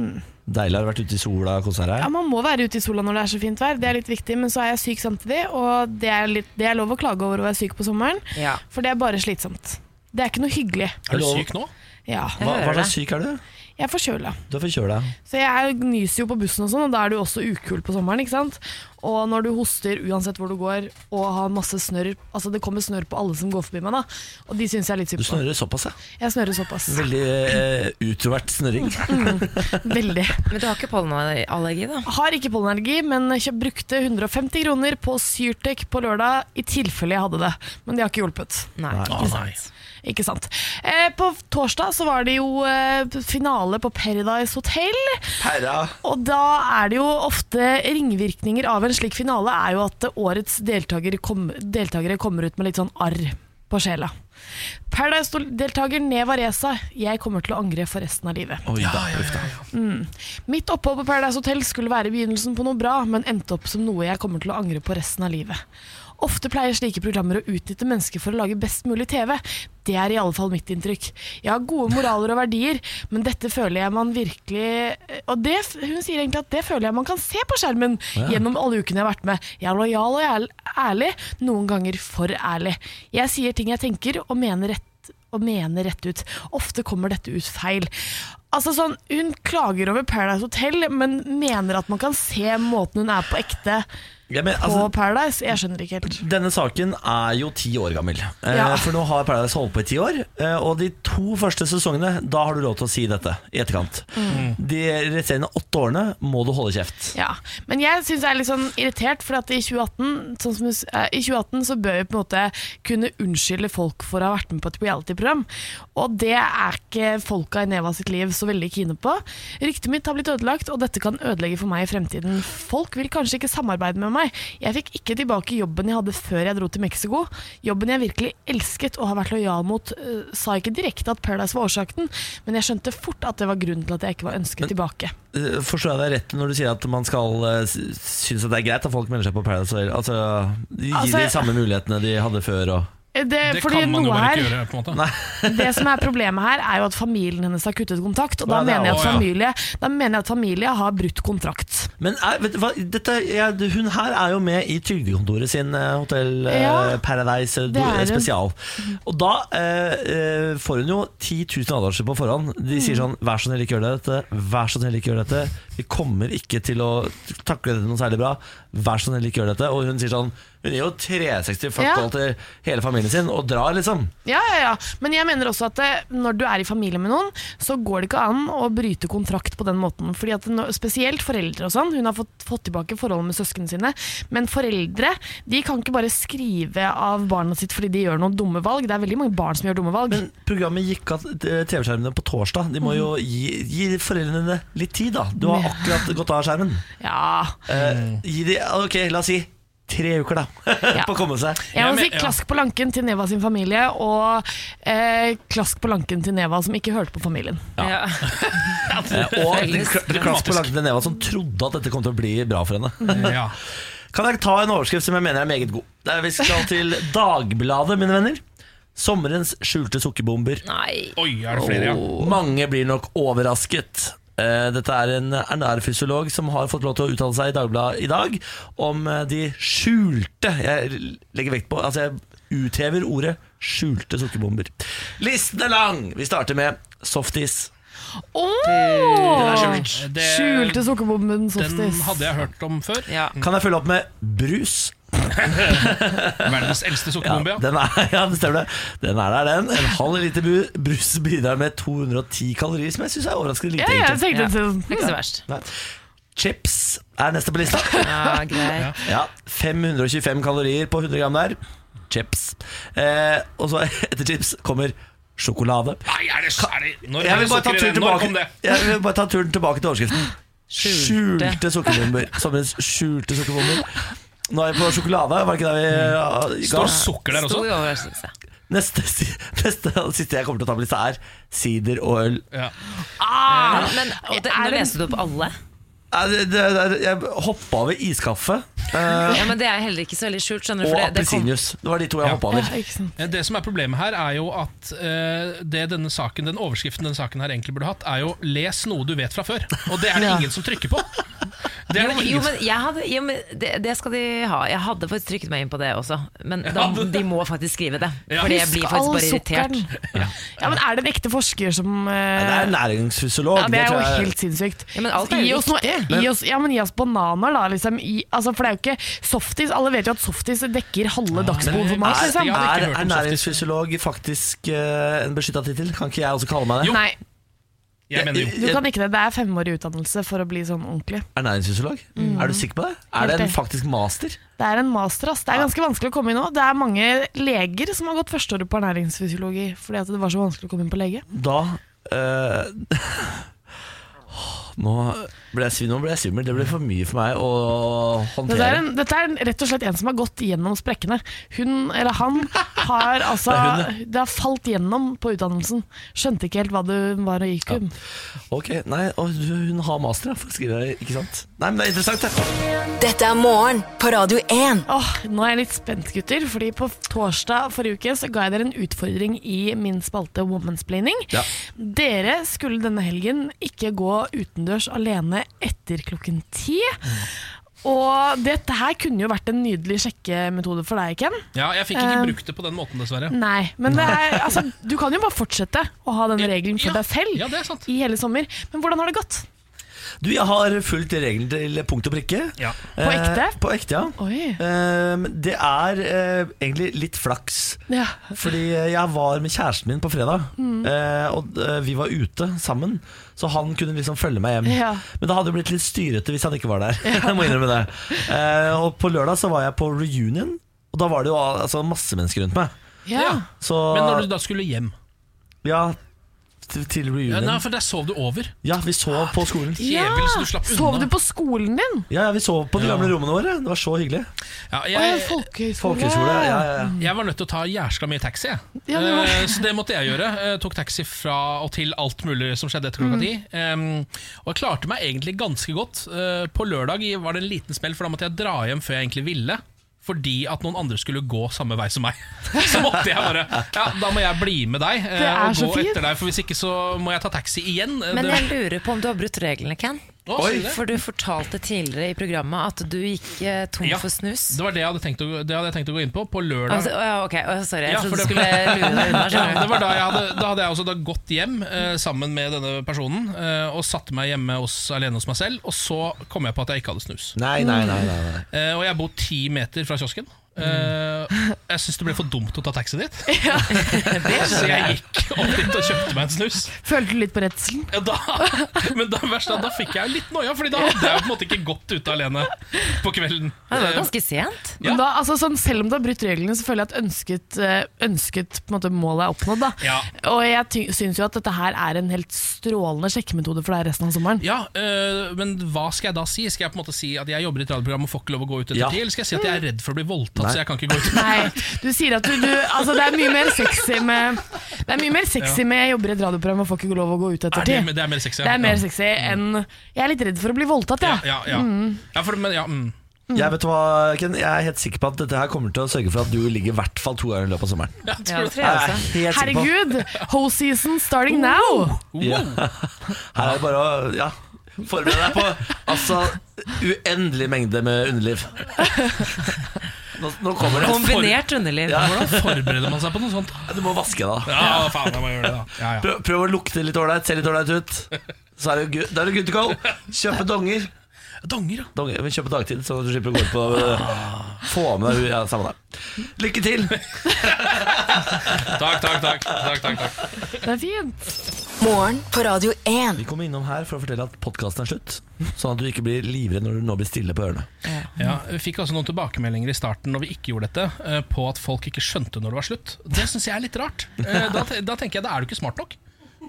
S1: Deilig å ha vært ute i sola og kost
S3: Ja,
S1: deg.
S3: Man må være ute i sola når det er så fint vær, det er litt viktig. Men så er jeg syk samtidig, og det er, litt, det er lov å klage over å være syk på sommeren.
S2: Ja.
S3: For det er bare slitsomt. Det er ikke noe hyggelig.
S4: Er du syk nå?
S3: Ja,
S1: Hva, hva
S2: hører
S1: slags syk er du?
S3: jeg er forkjøla.
S1: Du er forkjøla.
S3: Så jeg er, nyser jo på bussen og sånn, og da er du også ukul på sommeren, ikke sant. Og når du hoster uansett hvor du går, og har masse snørr Altså det kommer snørr på alle som går forbi meg, da. Og de syns jeg er litt
S1: Du
S3: synd på.
S1: snørrer såpass, ja.
S3: Jeg snørrer såpass.
S1: Veldig eh, utrovert snørring.
S3: Veldig.
S2: Men du har ikke pollenallergi, da?
S3: Har ikke pollenallergi, men kjøp, brukte 150 kroner på Syrtec på lørdag i tilfelle jeg hadde det. Men det har ikke hjulpet.
S2: Nei.
S4: Å, nei.
S3: Ikke sant. Eh, på torsdag så var det jo eh, finale på Paradise Hotel.
S1: Herra.
S3: Og da er det jo ofte ringvirkninger av en slik finale er jo at årets deltaker kom, deltakere kommer ut med litt sånn arr på sjela. Paradise-deltaker Neva Reza, jeg kommer til å angre for resten av livet.
S1: Oi da, uff da.
S3: Mitt opphold på Paradise Hotel skulle være begynnelsen på noe bra, men endte opp som noe jeg kommer til å angre på resten av livet. Ofte pleier slike programmer å utnytte mennesker for å lage best mulig TV. Det er i alle fall mitt inntrykk. Jeg har gode moraler og verdier, men dette føler jeg man virkelig eh, Og det, hun sier egentlig at det føler jeg man kan se på skjermen gjennom alle ukene jeg har vært med. Jeg er lojal og jeg er ærlig, noen ganger for ærlig. Jeg sier ting jeg tenker og mener rett og mener rett ut. Ofte kommer dette ut feil. Altså sånn, Hun klager over Paradise Hotel, men mener at man kan se måten hun er på ekte
S1: Ja, men,
S3: på
S1: altså,
S3: Paradise. Jeg skjønner ikke helt.
S1: denne saken er jo ti år gammel. Eh,
S3: Ja.
S1: For nå har Paradise holdt på i ti år. eh, Og de to første sesongene, da har du lov til å si dette i etterkant. De resterende åtte årene må du holde kjeft.
S3: Mm. Ja, Men jeg syns jeg er litt sånn irritert, for at i 2018 sånn som, du s- eh, I 2018 så bør vi på en måte kunne unnskylde folk for å ha vært med på et reality-program. Og det er ikke folka i Neva sitt liv så veldig kine på. Ryktet mitt har blitt ødelagt, og dette kan ødelegge for meg i fremtiden. Folk vil kanskje ikke samarbeide med meg. Jeg fikk ikke tilbake jobben jeg hadde før jeg dro til Mexico. Jobben jeg virkelig elsket og har vært lojal mot, eh, sa ikke direkte at Paradise var årsaken, men jeg skjønte fort at det var grunnen til at jeg ikke var ønsket tilbake.
S1: Eh, Forstår jeg deg rett når du sier at man skal eh, s- synes at det er greit at folk melder seg på Paradise Hotel? Altså, gi
S3: Altså,
S1: de samme mulighetene de hadde før og
S3: Eh, Det,
S4: Det
S3: fordi
S4: kan man jo
S3: noe her-
S4: bare ikke gjøre. på en måte
S3: Det som er problemet her, er jo at familien hennes har kuttet kontakt. Og da,
S1: Ja, det er
S3: mener jeg
S1: også,
S3: at
S4: ja.
S3: familie, da mener jeg at familie har brutt kontrakt.
S1: Men er, vet du hva, dette, jeg- hun her er jo med i Trygdekontoret sin eh, Hotel eh,
S3: Ja,
S1: Paradise eh,
S3: det er hun. Mhm.
S1: spesial. Og da eh, eh, får hun jo 10 000 advarsler på forhånd. De
S3: Mhm.
S1: sier sånn 'vær så snill, ikke gjør dette', 'vær så snill, ikke gjør dette'. 'Vi kommer ikke til å takle dette noe særlig bra', 'vær så snill, ikke gjør dette'. Og hun sier sånn Hun gir jo 360 fuck
S3: Ja.
S1: all til hele familien sin og drar, liksom.
S3: Ja, ja, ja. Men jeg mener også at eh, når du er i familie med noen, så går det ikke an å bryte kontrakt på den måten. Fordi at nå- Spesielt foreldre og sånn. Hun har fått, fått tilbake forholdet med søsknene sine. Men foreldre de kan ikke bare skrive av barna sitt fordi de gjør noen dumme valg. Det er veldig mange barn som gjør dumme valg.
S1: Men programmet gikk av eh, TV-skjermene på torsdag.
S3: Mhm.
S1: De må jo gi, gi foreldrene dine litt tid, da. Du har akkurat gått av skjermen.
S3: ja.
S1: Eh, gi de, ok, la oss si tre uker da på å komme seg.
S3: Jeg må
S4: men-
S3: si
S4: ja.
S3: klask på lanken til Neva sin familie, og eh, klask på lanken til Neva som ikke hørte på familien.
S2: Ja.
S1: Eh, og klass på langt ned neva som trodde at dette kom til å bli bra for henne.
S8: Mhm.
S4: Ja.
S1: Kan jeg ta en overskrift som jeg mener er meget god? Det er- Vi skal til Dagbladet, mine venner. Sommerens skjulte sukkerbomber.
S2: Nei.
S4: Oi, er det flere, ja?
S1: Mange blir nok overrasket. Eh, Dette er en ernærfysiolog som har fått lov til å uttale seg i Dagbladet i dag om eh, de skjulte Jeg legger vekt på Altså, jeg uthever ordet skjulte sukkerbomber. Listen er lang! Vi starter med softis.
S3: Åh!
S4: Det,
S3: Skjulte sukkerbomben
S4: den
S3: softis.
S4: hadde jeg hørt om før.
S2: Ja.
S1: Kan jeg følge opp med brus?
S4: Verdens eldste
S1: Ja,
S4: sukkerbombe. Ja,
S1: den er, ja, det stemmer det. Den er der, den. En halv liter bu- brus bidrar med 210 kalorier, som jeg syns er overraskende
S3: Ja,
S1: lite.
S3: ja, jeg
S1: egentlig.
S3: tenkte
S2: Ja.
S3: sånn,
S2: Ikke så verst.
S1: Nei. Chips er neste på lista.
S2: Ja, greit.
S1: Ja, 525 kalorier på 100 gram der. Chips. Eh, og så etter chips kommer sjokolade.
S4: Nei, er det, er det, når,
S1: Jeg vil, bare ta
S4: sukker i
S1: turen
S4: den? Når kom
S1: tilbake,
S4: det?
S1: jeg vil bare ta turen tilbake til overskriften.
S2: Skjulte.
S1: Skjulte sukkerbomber. Sommerens skjulte sukkerbomber. Nå er vi på sjokolade. Var det ikke der vi eh,
S4: Står sukker der også?
S2: Stor overraskelse.
S1: Neste, si- neste og siste jeg kommer til å ta på lista, er sider og øl.
S4: Ja.
S2: Men, men og Ah! det, nå leste du opp alle.
S1: Nei, det, det, det, jeg hoppa over iskaffe eh,
S2: Ja, men Det er heller ikke så veldig skjult. skjønner du
S1: og
S2: for det, det kom,
S1: appelsinjuice. Det var de to jeg
S4: Ja.
S1: hoppa
S3: ja,
S1: over.
S3: ikke sant.
S4: Eh, Det som er problemet her, er jo at eh, det denne saken, den overskriften denne saken her egentlig burde hatt, er jo 'les noe du vet fra før'. Og det er det ingen som trykker på. Det er det
S2: Jo,
S4: ingen som
S2: men, jeg hadde, jo, men det, det skal de ha. Jeg hadde faktisk trykket meg inn på det også. Men da, de må faktisk skrive det.
S4: Ja.
S2: Fordi jeg blir faktisk bare irritert.
S3: Ja, men er det en ekte forsker som eh,
S1: Det er næringsfysiolog.
S3: ja, det er
S1: tror
S3: jo
S1: jeg-
S3: helt sinnssykt.
S2: Ja, men alt er jo
S3: gi, oss noe, gi, oss, ja, men gi oss bananer, da. Liksom. I, altså, for det er jo ikke softis. Alle vet jo at softis dekker halve dagsbehovet for mat.
S4: er-
S3: Liksom.
S4: ja, Jeg hadde
S1: Er
S4: ikke hørt om
S1: ernæringsfysiolog faktisk eh, en beskytta tittel? Kan ikke jeg også kalle meg det?
S4: Jo.
S3: Nei,
S4: Jeg mener jo
S3: du kan ikke det. Det er femårig utdannelse for å bli sånn ordentlig.
S1: Ernæringsfysiolog? Er du sikker på det? Er
S3: Mm. Helt
S1: det en
S3: enig.
S1: faktisk master?
S3: Det er en master, ass. Det er ganske vanskelig å komme inn nå. Det er mange leger som har gått førsteåret på ernæringsfysiologi fordi at det var så vanskelig å komme inn på lege.
S1: Da eh, Nå ble jeg, svi- nå ble jeg svimmel. Det ble for mye for meg å
S3: Dette er,
S1: håndtere.
S3: en, dette er en, rett og slett en som har gått gjennom sprekkene. Hun, eller han, har altså
S1: Det er
S3: Det, har falt gjennom på utdannelsen. Skjønte ikke helt hva det var og gikk om.
S1: Ok, nei, og du- Hun har master, ja, for å skrive det. Ikke sant? Nei, men det er interessant, det.
S5: Dette er morgen på Radio 1.
S3: Åh, nå er jeg litt spent, gutter. Fordi på torsdag forrige uke så ga jeg dere en utfordring i min spalte Womansplaining.
S1: Ja.
S3: Dere
S1: Mm.
S3: skulle denne helgen ikke gå utendørs alene etter klokken ti. Og dette her kunne jo vært en nydelig sjekkemetode for deg, Ken.
S4: Ja, jeg fikk
S3: Eh.
S4: ikke brukt det på den måten, dessverre.
S3: Nei, men det er, altså, du kan jo bare fortsette å ha den regelen for
S4: Ja,
S3: deg selv
S4: ja, det er sant.
S3: i hele sommer. Men hvordan har det gått?
S1: Du, jeg har fulgt regelen til punkt og prikke.
S4: Ja.
S3: På
S1: Eh,
S3: ekte?
S1: på ekte, ja.
S3: Oi.
S1: Eh, det er eh, egentlig litt flaks.
S3: Ja.
S1: Fordi jeg var med kjæresten min på fredag,
S4: Mm.
S1: eh, og eh, vi var ute sammen. Så han kunne liksom følge meg hjem.
S3: Ja.
S1: Men det hadde jo blitt litt styrete hvis han ikke var der. Jeg må innrømme det eh, Og på lørdag så var jeg på reunion, og da var det jo altså, masse mennesker rundt meg.
S3: Ja.
S1: Så
S4: Men når du da skulle hjem
S1: Ja, til, til
S4: ja, Nei,
S1: reunion.
S4: for der sov du over.
S1: Ja, vi så på skolen.
S4: Jævel, så du slapp unna.
S3: Sov du på skolen din?
S1: Ja, ja, vi så på de gamle rommene våre. Det var så hyggelig.
S4: Ja,
S3: Å, ja,
S4: jeg,
S3: folkehøyskole.
S1: Folkehøyskole. Ja, ja, ja.
S4: jeg var nødt til å ta jæskla mye taxi, jeg.
S3: Ja, det var-
S4: Eh, så det måtte jeg gjøre. Eh, tok taxi fra og til alt mulig som skjedde etter
S3: Mm.
S4: klokka ti. Em, og jeg klarte meg egentlig ganske godt. Eh, på lørdag i- var det en liten smell, for da måtte jeg dra hjem før jeg egentlig ville. Fordi at noen andre skulle gå samme vei som meg. Så måtte jeg bare Ja, da må jeg bli med deg eh,
S3: Det er
S4: og
S3: så
S4: gå
S3: fint.
S4: etter deg, for hvis ikke så må jeg ta taxi igjen. Eh,
S2: Men
S4: det-
S2: jeg lurer på om du har brutt reglene, Ken.
S4: Å, sier du det?
S2: For du fortalte tidligere i programmet at du gikk eh, tom
S4: Ja.
S2: for snus.
S4: Det var det jeg hadde tenkt å, det hadde jeg tenkt å gå inn på. På lørdag.
S2: Altså, å, ja, ok, Å, sorry, jeg
S4: Ja, for
S2: trodde du skulle
S4: det-
S2: lure deg unna.
S4: Ja, det
S2: skjønner du.
S4: var da, jeg hadde, da hadde jeg også da gått hjem eh, sammen med denne personen eh, og satte meg hjemme hos, alene hos meg selv. Og så kom jeg på at jeg ikke hadde snus.
S1: Nei, nei, nei, nei, nei.
S4: Eh, og jeg bor ti meter fra kiosken. Eh, jeg syns det ble for dumt å ta taxi dit, så jeg gikk opp dit og kjøpte meg en snus.
S3: Følte du litt på redselen?
S4: Ja, da, men da, verst, da, da fikk jeg jo litt noia, Fordi da hadde jeg på en måte ikke gått ute alene på kvelden.
S2: Ja, det var
S4: Eh,
S2: ganske sent.
S4: Ja.
S3: Men Da, altså, sånn, selv om du har brutt reglene, så føler jeg at ønsket, eh, ønsket på en måte, målet er oppnådd. Da.
S4: Ja.
S3: Og jeg ty- syns jo at dette her er en helt strålende sjekkemetode for deg resten av sommeren.
S4: Ja, øh, men hva skal jeg da si? Skal jeg på en måte si at jeg jobber i et radioprogram og får ikke lov å gå ut etter
S1: Ja.
S4: ti? Eller skal jeg si at jeg er redd for å bli voldtatt,
S1: Nei.
S4: så jeg kan ikke gå ut?
S3: Nei, du sier at du, du Altså, det er mye mer sexy med Det er mye mer sexy med 'jeg jobber i et radioprogram og får ikke lov å gå ut etter
S4: Er det,
S3: ti'.
S4: det er mer sexy. ja.
S3: Det er mer
S4: Ja.
S3: sexy enn Jeg er litt redd for å bli voldtatt,
S4: Ja,
S3: jeg.
S4: ja, ja. ja, for, men, ja mm.
S1: Jeg vet du hva, Ken, jeg er helt sikker på at dette her kommer til å sørge for at du ligger i hvert fall to ganger i løpet av sommeren.
S2: Ja,
S4: ja, tror
S2: det
S4: du-
S2: tror jeg også.
S1: Jeg er helt sikker på.
S3: Herregud! Hoe season starting now!
S4: Oh.
S1: Ja. Her er det bare å ja, forberede deg på altså, uendelig mengde med underliv. Nå, nå kommer det.
S2: Kombinert underliv.
S4: Hvordan forbereder man seg på noe sånt?
S1: Du må vaske deg, da.
S4: Ja, faen, jeg må gjøre det da ja, ja.
S1: Prøv, prøv å lukte litt ålreit, se litt ålreit ut. Så er det good, da er det good to go. Kjøpe donger.
S4: Donger, ja.
S1: donger men kjøpe dagtid, sånn at du slipper å gå ut på øh, Få med deg ja, samme der. Lykke til!
S4: Takk, takk, takk. takk, takk, takk.
S3: Det er fint.
S5: Morgen på Radio 1.
S1: Vi kommer innom her for å fortelle at podkasten er slutt, sånn at du ikke blir livredd når du nå blir stille på ørene.
S4: Ja, vi fikk også noen tilbakemeldinger i starten når vi ikke gjorde dette, eh, på at folk ikke skjønte når det var slutt. Det syns jeg er litt rart. Eh, Da, te- da tenker jeg da er du ikke smart nok.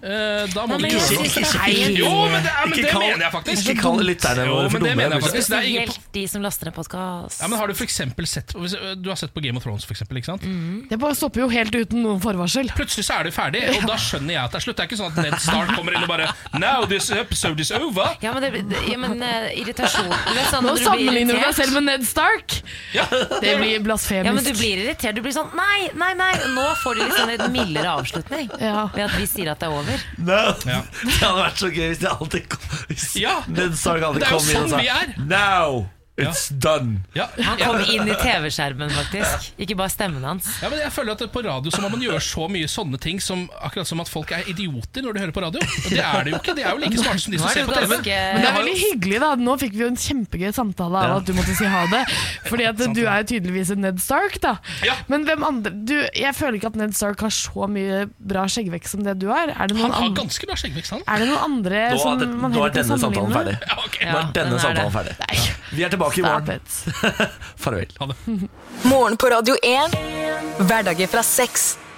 S4: Eh, Da må
S2: Nei, men
S4: du gjøre
S2: jeg
S4: noe.
S2: synes det er
S3: Nei.
S2: fint.
S4: Jo, men det, ja, men
S1: Ikke
S4: det
S1: kall-
S4: mener jeg faktisk.
S1: Ikke kall lytterne
S4: Jo,
S1: våre
S4: men
S1: for
S4: det
S1: dumme.
S4: mener jeg
S1: August.
S4: faktisk. Det er ingen
S2: Spesielt de som laster ned podkast.
S4: Ja, men har du for eksempel sett hvis, ø, Du har sett på Game of Thrones, for eksempel, ikke sant?
S2: Mm.
S3: Det bare stopper jo helt uten noen forvarsel.
S4: Plutselig så er du ferdig, og da skjønner jeg at det er slutt. Det er ikke sånn at Ned Stark kommer inn og bare Now this episode is over.
S2: Ja, men, det, ja, men eh, irritasjon Du vet sånn
S3: Nå
S2: når du blir
S3: sammenligner du deg
S2: irritert.
S3: selv med Ned Stark!
S4: Ja.
S3: Det blir blasfemisk.
S2: Ja, men du blir irritert. Du blir sånn nei, nei, nei. Nå får du liksom en mildere avslutning
S3: Ja.
S2: ved at vi sier at det er over.
S1: No. Det hadde vært så gøy hvis de alltid kom hvis
S4: Ja.
S1: Ned Stark alltid
S4: Det er jo
S1: kom inn og
S4: sånn vi er.
S1: sa Now it's done.
S4: Ja,
S2: Han
S4: ja.
S2: kom inn i TV-skjermen, faktisk. Ikke bare stemmen hans.
S4: ja, men jeg føler at På radio så må man gjøre så mye sånne ting som akkurat som at folk er idioter når de hører på radio. Og det er det jo ikke. De er jo like smarte som de
S2: Nå
S4: som
S2: er det
S4: ser
S2: jo
S4: på TV.
S2: ganske
S3: Men det er veldig hyggelig, da. Nå fikk vi jo en kjempegøy samtale av
S1: Eh, Ja.
S3: at du måtte si ha det. Fordi at du er jo tydeligvis en Ned Stark, da.
S4: Ja.
S3: Men hvem andre du, Jeg føler ikke at Ned Stark har så mye bra skjeggvekst som det du har. Er det noen,
S4: Han har
S3: andre,
S4: ganske bra skjeggvekst, han.
S3: er det noen andre
S1: Nå
S3: som
S1: er, det,
S3: man
S1: nå
S3: heller
S1: er
S3: kan
S1: denne samtalen
S3: sammenligne?
S1: ferdig.
S4: Ja, ok.
S1: Nå
S2: Ja,
S1: er
S2: den
S1: denne
S2: er
S1: samtalen
S2: det.
S1: ferdig. Vi er tilbake i
S3: Stop
S1: morgen.
S3: it.
S1: Farvel.
S5: Morgen på Radio 1. Hverdager fra seks.